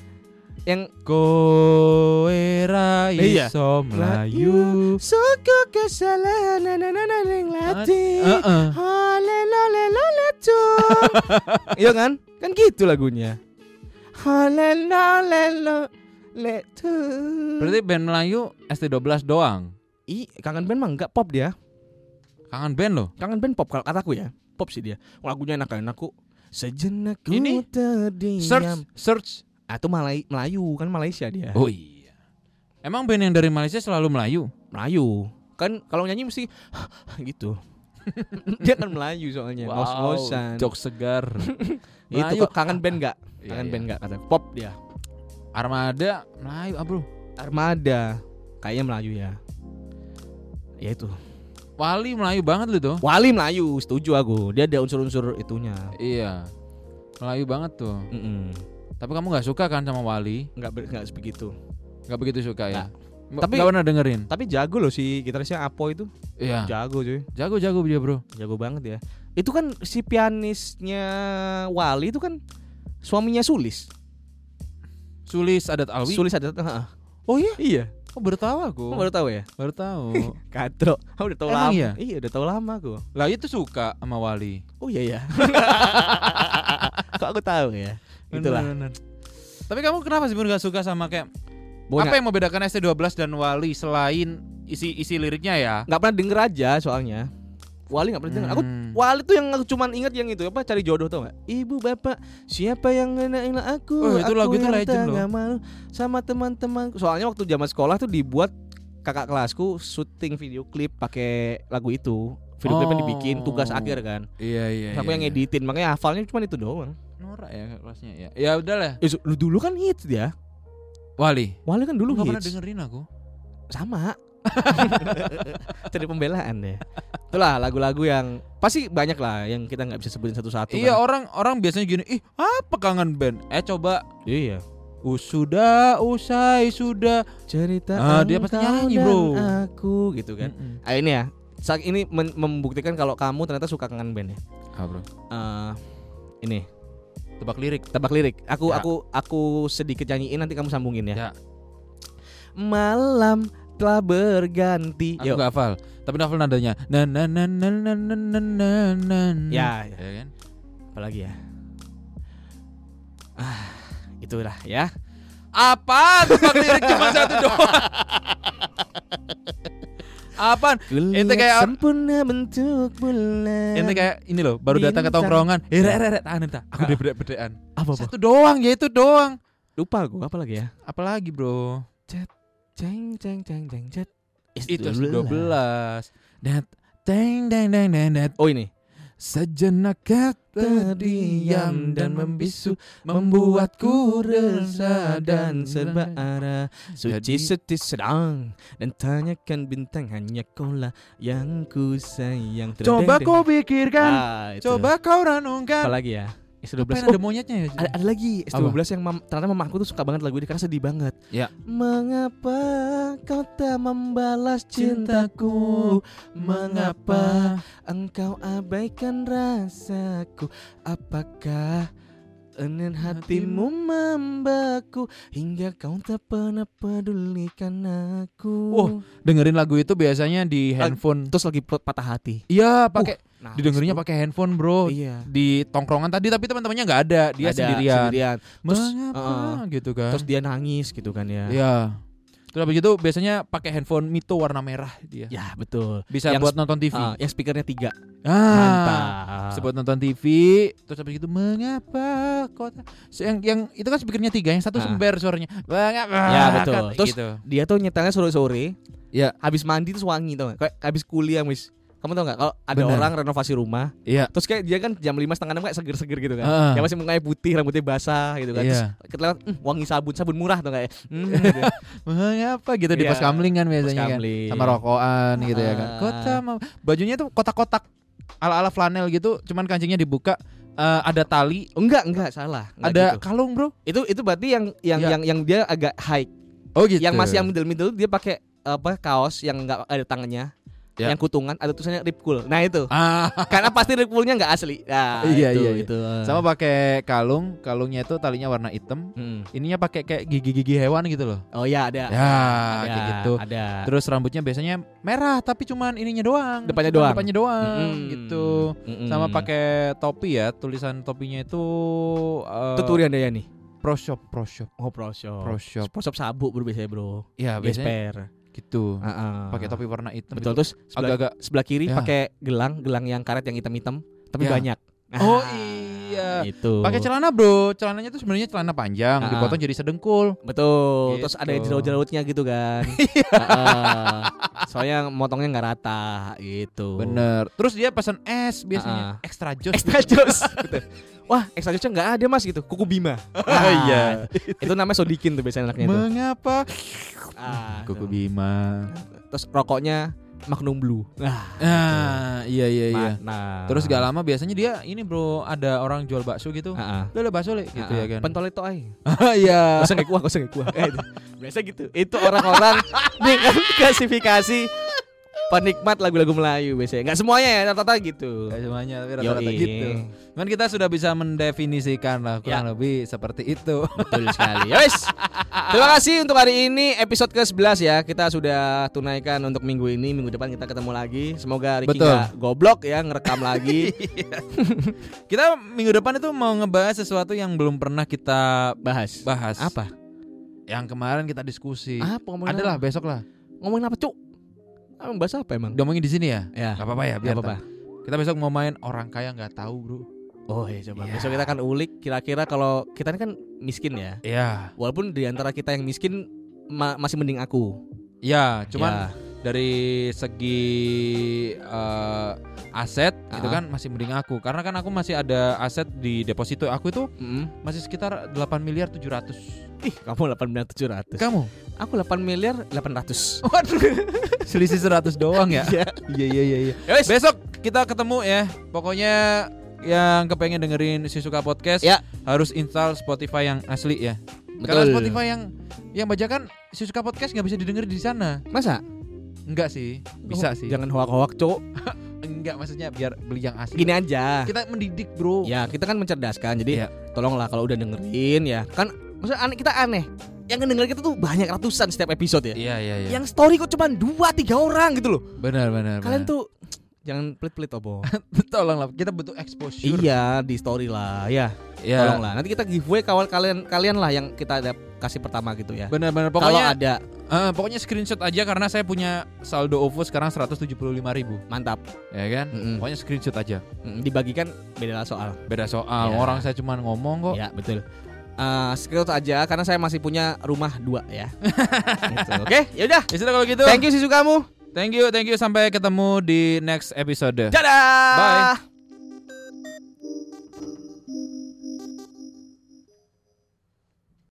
[SPEAKER 1] yang
[SPEAKER 2] kowe ra
[SPEAKER 1] Iya.
[SPEAKER 2] iso melayu.
[SPEAKER 1] suka kesalahan nanananan yang Lati.
[SPEAKER 2] Heeh.
[SPEAKER 1] Halelolelolatu. [LAUGHS] Iya kan? Kan gitu lagunya. Halelolelolatu.
[SPEAKER 2] Berarti band Melayu ST12 doang.
[SPEAKER 1] Ih, kangen band mah enggak pop dia.
[SPEAKER 2] Kangen band loh.
[SPEAKER 1] Kangen band pop kalau kataku ya. Pop sih dia. Lagunya enak-enak kok. Sejenak ku
[SPEAKER 2] Ini?
[SPEAKER 1] terdiam.
[SPEAKER 2] Search, search.
[SPEAKER 1] Ah, itu Malay- Melayu kan Malaysia dia.
[SPEAKER 2] Oh iya. Emang band yang dari Malaysia selalu Melayu?
[SPEAKER 1] Melayu. Kan kalau nyanyi mesti [LAUGHS] gitu. [LAUGHS] dia kan Melayu soalnya, ngos-ngosan.
[SPEAKER 2] jok segar.
[SPEAKER 1] Itu
[SPEAKER 2] Melayu.
[SPEAKER 1] kok [LAUGHS] kangen band enggak?
[SPEAKER 2] [LAUGHS] Iya,
[SPEAKER 1] Kangen
[SPEAKER 2] iya.
[SPEAKER 1] band enggak kata pop dia.
[SPEAKER 2] Armada Melayu, ah, bro.
[SPEAKER 1] Armada kayaknya Melayu ya ya itu
[SPEAKER 2] Wali Melayu banget lu tuh.
[SPEAKER 1] Wali Melayu setuju aku dia ada unsur-unsur itunya
[SPEAKER 2] Iya. Melayu banget tuh.
[SPEAKER 1] Mm-mm.
[SPEAKER 2] Tapi kamu nggak suka kan sama Wali?
[SPEAKER 1] nggak ber- nggak begitu
[SPEAKER 2] Nggak begitu suka ya?
[SPEAKER 1] Tapi-
[SPEAKER 2] Tapi nggak pernah dengerin.
[SPEAKER 1] tapi jago loh si gitarisnya Apo itu
[SPEAKER 2] Iya.
[SPEAKER 1] jago cuy
[SPEAKER 2] Jago-jago dia bro.
[SPEAKER 1] jago banget ya itu kan si pianisnya Wali itu kan suaminya Sulis
[SPEAKER 2] Sulis adat Alwi.
[SPEAKER 1] Sulis ada heeh. oh iya iya
[SPEAKER 2] Oh, baru tahu aku.
[SPEAKER 1] Kamu baru tahu ya
[SPEAKER 2] Baru tahu.
[SPEAKER 1] [LAUGHS] katro Kamu udah tahu
[SPEAKER 2] Emang
[SPEAKER 1] lama
[SPEAKER 2] iya?
[SPEAKER 1] iya udah tahu lama aku
[SPEAKER 2] lah itu suka sama Wali.
[SPEAKER 1] oh iya [LAUGHS] ya kok aku tahu ya itulah
[SPEAKER 2] Bener, bener. Tapi kamu kenapa sih Bun nggak suka sama kayak
[SPEAKER 1] Pokoknya
[SPEAKER 2] apa yang membedakan ST12 dan Wali selain isi isi liriknya ya?
[SPEAKER 1] nggak pernah denger aja soalnya Wali nggak pernah denger aku
[SPEAKER 2] Hmm.
[SPEAKER 1] Wali tuh yang aku cuman ingat yang itu apa cari jodoh tau gak Ibu bapak siapa yang ngenain aku
[SPEAKER 2] Oh, itu
[SPEAKER 1] aku
[SPEAKER 2] lagu itu
[SPEAKER 1] yang
[SPEAKER 2] legend
[SPEAKER 1] tak
[SPEAKER 2] loh.
[SPEAKER 1] nggak malu sama teman-teman soalnya waktu zaman sekolah tuh dibuat kakak kelasku syuting video klip pakai lagu itu video klipnya
[SPEAKER 2] Oh.
[SPEAKER 1] dibikin tugas akhir kan
[SPEAKER 2] Iya iya.
[SPEAKER 1] Terus aku
[SPEAKER 2] iya,
[SPEAKER 1] yang
[SPEAKER 2] iya.
[SPEAKER 1] ngeditin makanya hafalnya cuman itu doang
[SPEAKER 2] Norak ya kelasnya ya. Ya udahlah.
[SPEAKER 1] Eh, su- lu dulu kan hits dia
[SPEAKER 2] Wali.
[SPEAKER 1] Wali kan dulu
[SPEAKER 2] Lu nggak pernah
[SPEAKER 1] hits
[SPEAKER 2] dengerin aku.
[SPEAKER 1] sama [LAUGHS] cari pembelaan deh itulah lagu-lagu yang pasti banyak lah yang kita nggak bisa sebutin satu-satu kan.
[SPEAKER 2] Iya orang orang biasanya gini, ih apa kangen band? Eh coba,
[SPEAKER 1] iya
[SPEAKER 2] "Uh, sudah usai sudah.
[SPEAKER 1] cerita
[SPEAKER 2] Ah, dia pasti
[SPEAKER 1] engkau
[SPEAKER 2] nyanyi,
[SPEAKER 1] dan
[SPEAKER 2] bro.
[SPEAKER 1] aku gitu kan
[SPEAKER 2] Mm-mm.
[SPEAKER 1] ah, ini ya saat ini men- membuktikan kalau kamu ternyata suka kangen band ya
[SPEAKER 2] Ah, bro.
[SPEAKER 1] Eh, ini
[SPEAKER 2] Tebak lirik.
[SPEAKER 1] tebak lirik aku
[SPEAKER 2] Ya.
[SPEAKER 1] aku aku sedikit nyanyiin nanti kamu sambungin ya,
[SPEAKER 2] Ya.
[SPEAKER 1] malam telah berganti
[SPEAKER 2] Aku nggak hafal, tapi hafal nadanya. Na na na na na na na na na. na.
[SPEAKER 1] ya, ya
[SPEAKER 2] Ya kan?
[SPEAKER 1] apalagi ya ah itulah ya
[SPEAKER 2] Apaan tebak lirik cuma satu doang?
[SPEAKER 1] [LAUGHS]
[SPEAKER 2] Apaan? Ente kayak-
[SPEAKER 1] Gelap sempurna bentuk bulan
[SPEAKER 2] Ente kayak ini loh, baru datang ke
[SPEAKER 1] Bintang.
[SPEAKER 2] tongkrongan. Eh, re, re, re, tahan, tahan. Aku bedek-bedekan.
[SPEAKER 1] apa apa
[SPEAKER 2] Satu doang, ya itu doang.
[SPEAKER 1] lupa aku apa lagi ya
[SPEAKER 2] Apalagi bro?
[SPEAKER 1] ceng ceng ceng ceng cet
[SPEAKER 2] Itu 12 Dat, deng, deng, deng, deng, dat.
[SPEAKER 1] oh ini
[SPEAKER 2] Sejenak kau terdiam dan membisu Membuatku resah dan serba
[SPEAKER 1] ara
[SPEAKER 2] Suci
[SPEAKER 1] seti sedang Dan tanyakan bintang hanya kaulah yang ku sayang
[SPEAKER 2] Coba kau pikirkan
[SPEAKER 1] Coba
[SPEAKER 2] Coba kau
[SPEAKER 1] Apa
[SPEAKER 2] renungkan
[SPEAKER 1] lagi ya
[SPEAKER 2] Apa
[SPEAKER 1] S12 Oh,
[SPEAKER 2] yang ada monyetnya ya?
[SPEAKER 1] ada, ada lagi S12
[SPEAKER 2] Apa?
[SPEAKER 1] yang mam, ternyata mamaku tuh suka banget lagu ini karena sedih banget
[SPEAKER 2] Ya.
[SPEAKER 1] Mengapa kau tak membalas cintaku Mengapa engkau abaikan rasaku Apakah Enin hatimu membeku hingga kau tak pernah pedulikan aku.
[SPEAKER 2] Wah. Dengerin lagu itu biasanya di handphone
[SPEAKER 1] terus lagi pe- patah hati.
[SPEAKER 2] Iya pakai
[SPEAKER 1] Nah,
[SPEAKER 2] Didengerinnya
[SPEAKER 1] terus-
[SPEAKER 2] pakai handphone bro
[SPEAKER 1] Iya.
[SPEAKER 2] Di tongkrongan tadi tapi teman-temannya nggak ada Dia
[SPEAKER 1] Ada,
[SPEAKER 2] sendirian,
[SPEAKER 1] Terus,
[SPEAKER 2] Mengapa?
[SPEAKER 1] uh-uh.
[SPEAKER 2] gitu kan
[SPEAKER 1] Terus dia nangis gitu kan ya.
[SPEAKER 2] Iya Terus habis itu biasanya pakai handphone Mito warna merah dia
[SPEAKER 1] Ya, betul.
[SPEAKER 2] Bisa
[SPEAKER 1] Yang
[SPEAKER 2] buat nonton TV
[SPEAKER 1] Ah, yang speakernya tiga.
[SPEAKER 2] Ah.
[SPEAKER 1] Mantap.
[SPEAKER 2] Sebut nonton TV, terus habis itu mengapa kota yang yang itu kan speakernya tiga, yang satu
[SPEAKER 1] Ah.
[SPEAKER 2] sumber suaranya. Mengapa? gitu.
[SPEAKER 1] Ya, betul.
[SPEAKER 2] Terus
[SPEAKER 1] Terus- Dia tuh nyetelnya sore-sore.
[SPEAKER 2] Ya.
[SPEAKER 1] Habis mandi terus wangi tau gak? Kayak habis kuliah, Miss. Kamu tau gak kalau ada
[SPEAKER 2] Benar.
[SPEAKER 1] orang renovasi rumah,
[SPEAKER 2] Iya.
[SPEAKER 1] terus kayak dia kan jam lima setengah enam kayak seger-seger gitu kan.
[SPEAKER 2] Ah.
[SPEAKER 1] Yang masih mukanya putih, rambutnya basah gitu kan.
[SPEAKER 2] Iya.
[SPEAKER 1] Terus kelewat "Hmm, wangi sabun, sabun murah tuh kayak. Hmm,
[SPEAKER 2] [LAUGHS]
[SPEAKER 1] gitu.
[SPEAKER 2] Mengapa gitu di
[SPEAKER 1] Iya.
[SPEAKER 2] pos kamling kan biasanya kan.
[SPEAKER 1] Kamling.
[SPEAKER 2] Sama rokokan gitu ya kan.
[SPEAKER 1] Ah.
[SPEAKER 2] Kota mau- bajunya tuh kotak-kotak ala-ala flanel gitu, cuman kancingnya dibuka eh, ada tali,
[SPEAKER 1] Oh, enggak, enggak salah. Enggak
[SPEAKER 2] ada
[SPEAKER 1] gitu.
[SPEAKER 2] kalung, Bro.
[SPEAKER 1] itu itu berarti yang yang
[SPEAKER 2] Iya.
[SPEAKER 1] yang yang dia agak high.
[SPEAKER 2] Oh gitu.
[SPEAKER 1] Yang masih yang middle middle dia pakai apa kaos yang enggak ada tangannya.
[SPEAKER 2] Ya.
[SPEAKER 1] Yang kutungan ada tulisannya Rip Cool. Nah, itu.
[SPEAKER 2] ah,
[SPEAKER 1] Karena pasti Rip Cool-nya enggak asli. Nah,
[SPEAKER 2] Iya,
[SPEAKER 1] itu,
[SPEAKER 2] iya, iya.
[SPEAKER 1] itu.
[SPEAKER 2] sama pakai kalung, kalungnya itu talinya warna hitam.
[SPEAKER 1] Hmm.
[SPEAKER 2] Ininya pakai kayak gigi-gigi hewan gitu loh.
[SPEAKER 1] Oh ya ada.
[SPEAKER 2] Ya,
[SPEAKER 1] ada,
[SPEAKER 2] kayak gitu.
[SPEAKER 1] Ada.
[SPEAKER 2] Terus rambutnya biasanya merah tapi cuman ininya doang.
[SPEAKER 1] Depannya
[SPEAKER 2] Cuman
[SPEAKER 1] doang.
[SPEAKER 2] Depannya doang
[SPEAKER 1] Mm-mm.
[SPEAKER 2] gitu.
[SPEAKER 1] Mm-mm.
[SPEAKER 2] Sama pakai topi ya, tulisan topinya itu eh,
[SPEAKER 1] tuturi Anda ya nih.
[SPEAKER 2] Pro Shop, Pro Shop,
[SPEAKER 1] Oh, iya, pro shop.
[SPEAKER 2] Pro Shop.
[SPEAKER 1] Pro shop sabuk bro biasanya, Bro.
[SPEAKER 2] Ya, biasanya
[SPEAKER 1] Gesper.
[SPEAKER 2] gitu.
[SPEAKER 1] Heeh.
[SPEAKER 2] Pakai topi warna hitam.
[SPEAKER 1] Ah. Betul
[SPEAKER 2] gitu. itu.
[SPEAKER 1] terus sebelah,
[SPEAKER 2] agak-agak.
[SPEAKER 1] sebelah kiri
[SPEAKER 2] Ya.
[SPEAKER 1] pakai gelang, gelang yang karet yang hitam-hitam, tapi
[SPEAKER 2] Ya.
[SPEAKER 1] banyak. gitu.
[SPEAKER 2] Oh,
[SPEAKER 1] Ah,
[SPEAKER 2] iya.
[SPEAKER 1] Itu.
[SPEAKER 2] Pakai celana, Bro. Celananya tuh sebenarnya celana panjang,
[SPEAKER 1] Ah.
[SPEAKER 2] dipotong jadi sedengkul.
[SPEAKER 1] Betul,
[SPEAKER 2] Gitu. Iya.
[SPEAKER 1] terus ada yang jerawat-jerawatnya gitu
[SPEAKER 2] [LAUGHS]
[SPEAKER 1] kan. Heeh. Soalnya motongnya nggak rata gitu.
[SPEAKER 2] Bener. Terus dia pesan es biasanya extra jos.
[SPEAKER 1] Extra [LAUGHS] jus. Betul. Wah, extra jusnya
[SPEAKER 2] [LAUGHS]
[SPEAKER 1] nggak ada mas gitu. Kuku Bima. Ah,
[SPEAKER 2] iya.
[SPEAKER 1] gitu. Itu namanya Sodikin tuh biasanya anaknya tuh.
[SPEAKER 2] Mengapa
[SPEAKER 1] Ah,
[SPEAKER 2] Kuku
[SPEAKER 1] tuh.
[SPEAKER 2] Bima.
[SPEAKER 1] Terus rokoknya Magnum Blue. Nah,
[SPEAKER 2] Ah, iya iya iya.
[SPEAKER 1] mana?
[SPEAKER 2] Terus gak lama biasanya dia ini bro ada orang jual bakso gitu.
[SPEAKER 1] Ah, ah.
[SPEAKER 2] Lo ada bakso le gitu
[SPEAKER 1] Ah, ah.
[SPEAKER 2] ya kan.
[SPEAKER 1] Pentol itu ay.
[SPEAKER 2] [LAUGHS] Ah, Iya.
[SPEAKER 1] Kosong kayak kuah, kosong kayak
[SPEAKER 2] [LAUGHS]
[SPEAKER 1] kuah. Eh, itu. Biasa gitu. Itu orang-orang [LAUGHS] dengan klasifikasi penikmat lagu-lagu Melayu biasanya. Nggak semuanya ya, rata-rata gitu.
[SPEAKER 2] Gak semuanya tapi
[SPEAKER 1] Yoi.
[SPEAKER 2] rata-rata gitu. Cuman kita sudah bisa mendefinisikan
[SPEAKER 1] Ya.
[SPEAKER 2] lah kurang lebih seperti itu. [LAUGHS]
[SPEAKER 1] Betul sekali. Ya wis. Terima kasih untuk hari ini episode ke-11 ya. Kita sudah tunaikan untuk minggu ini. Minggu depan kita ketemu lagi. Semoga Ricky
[SPEAKER 2] Betul.
[SPEAKER 1] nggak goblok ya ngerekam lagi.
[SPEAKER 2] Kita minggu depan itu mau ngebahas sesuatu yang belum pernah kita
[SPEAKER 1] Bahas.
[SPEAKER 2] [LAUGHS] bahas.
[SPEAKER 1] Apa? Ah,
[SPEAKER 2] Yang kemarin kita diskusi.
[SPEAKER 1] Apa ngomongin
[SPEAKER 2] Adalah
[SPEAKER 1] apa?
[SPEAKER 2] besok lah.
[SPEAKER 1] Ngomongin apa, Cuk? Emang bahas apa emang?
[SPEAKER 2] Ngomongin di sini ya.
[SPEAKER 1] Ya.
[SPEAKER 2] Gak apa-apa ya biar
[SPEAKER 1] Gak apa-apa.
[SPEAKER 2] tak. Kita besok mau main orang kaya nggak tahu bro.
[SPEAKER 1] Oh iya coba.
[SPEAKER 2] Iya.
[SPEAKER 1] Besok kita akan ulik kira-kira kalau kita ini kan miskin ya.
[SPEAKER 2] Iya.
[SPEAKER 1] Walaupun di antara kita yang miskin ma- masih mending aku.
[SPEAKER 2] Iya.
[SPEAKER 1] Ya.
[SPEAKER 2] Cuman dari segi eh, aset gitu
[SPEAKER 1] Ah.
[SPEAKER 2] kan masih mending aku karena kan aku masih ada aset di deposito aku itu
[SPEAKER 1] Mm.
[SPEAKER 2] masih sekitar 8 miliar 700
[SPEAKER 1] Ih, kamu 8 miliar 700.
[SPEAKER 2] kamu Oh.
[SPEAKER 1] Aku 8 miliar 800.
[SPEAKER 2] [LAUGHS] waduh selisih 100 doang ya
[SPEAKER 1] Iya.
[SPEAKER 2] iya iya iya iya.
[SPEAKER 1] Ya wis.
[SPEAKER 2] besok kita ketemu ya pokoknya yang kepengen dengerin si suka podcast
[SPEAKER 1] Ya.
[SPEAKER 2] harus install Spotify yang asli ya karena Spotify yang yang bajakan si suka podcast nggak bisa didengar di sana
[SPEAKER 1] Masa?
[SPEAKER 2] enggak sih
[SPEAKER 1] Oh,
[SPEAKER 2] bisa sih
[SPEAKER 1] Jangan hoak-hoak, Cuk.
[SPEAKER 2] enggak maksudnya biar beli yang asli
[SPEAKER 1] Gini aja.
[SPEAKER 2] kita mendidik bro
[SPEAKER 1] Ya, kita kan mencerdaskan. Jadi
[SPEAKER 2] Gitu. Iya.
[SPEAKER 1] tolonglah kalau udah dengerin ya. Kan maksudnya aneh kita aneh. Yang ngedengerin kita tuh banyak ratusan setiap episode ya.
[SPEAKER 2] Iya iya iya.
[SPEAKER 1] Yang story kok cuma 2 3 orang gitu loh.
[SPEAKER 2] benar benar.
[SPEAKER 1] Kalian
[SPEAKER 2] benar.
[SPEAKER 1] tuh jangan pelit-pelit
[SPEAKER 2] [LAUGHS]
[SPEAKER 1] obo.
[SPEAKER 2] tolong lah kita butuh exposure.
[SPEAKER 1] iya, di story lah ya.
[SPEAKER 2] Iya.
[SPEAKER 1] Tolonglah nanti kita giveaway kawan kalian kalian lah yang kita ada kasih pertama gitu ya.
[SPEAKER 2] Benar benar
[SPEAKER 1] Kalau
[SPEAKER 2] pokoknya
[SPEAKER 1] ada
[SPEAKER 2] eh, pokoknya screenshot aja karena saya punya saldo OVO sekarang 175 ribu
[SPEAKER 1] mantap
[SPEAKER 2] ya kan.
[SPEAKER 1] Mm-mm.
[SPEAKER 2] Pokoknya screenshot aja.
[SPEAKER 1] Mm, dibagikan beda lah soal.
[SPEAKER 2] Beda soal
[SPEAKER 1] Ya.
[SPEAKER 2] orang saya cuman ngomong kok.
[SPEAKER 1] Ya betul. Eh screenshot aja karena saya masih punya rumah dua
[SPEAKER 2] [LAUGHS]
[SPEAKER 1] ya. Gitu, Oke, yaudah.
[SPEAKER 2] Ya sudah kalau gitu.
[SPEAKER 1] Thank you Sisukamu.
[SPEAKER 2] Thank you, thank you sampai ketemu di next episode.
[SPEAKER 1] Dadah.
[SPEAKER 2] Bye.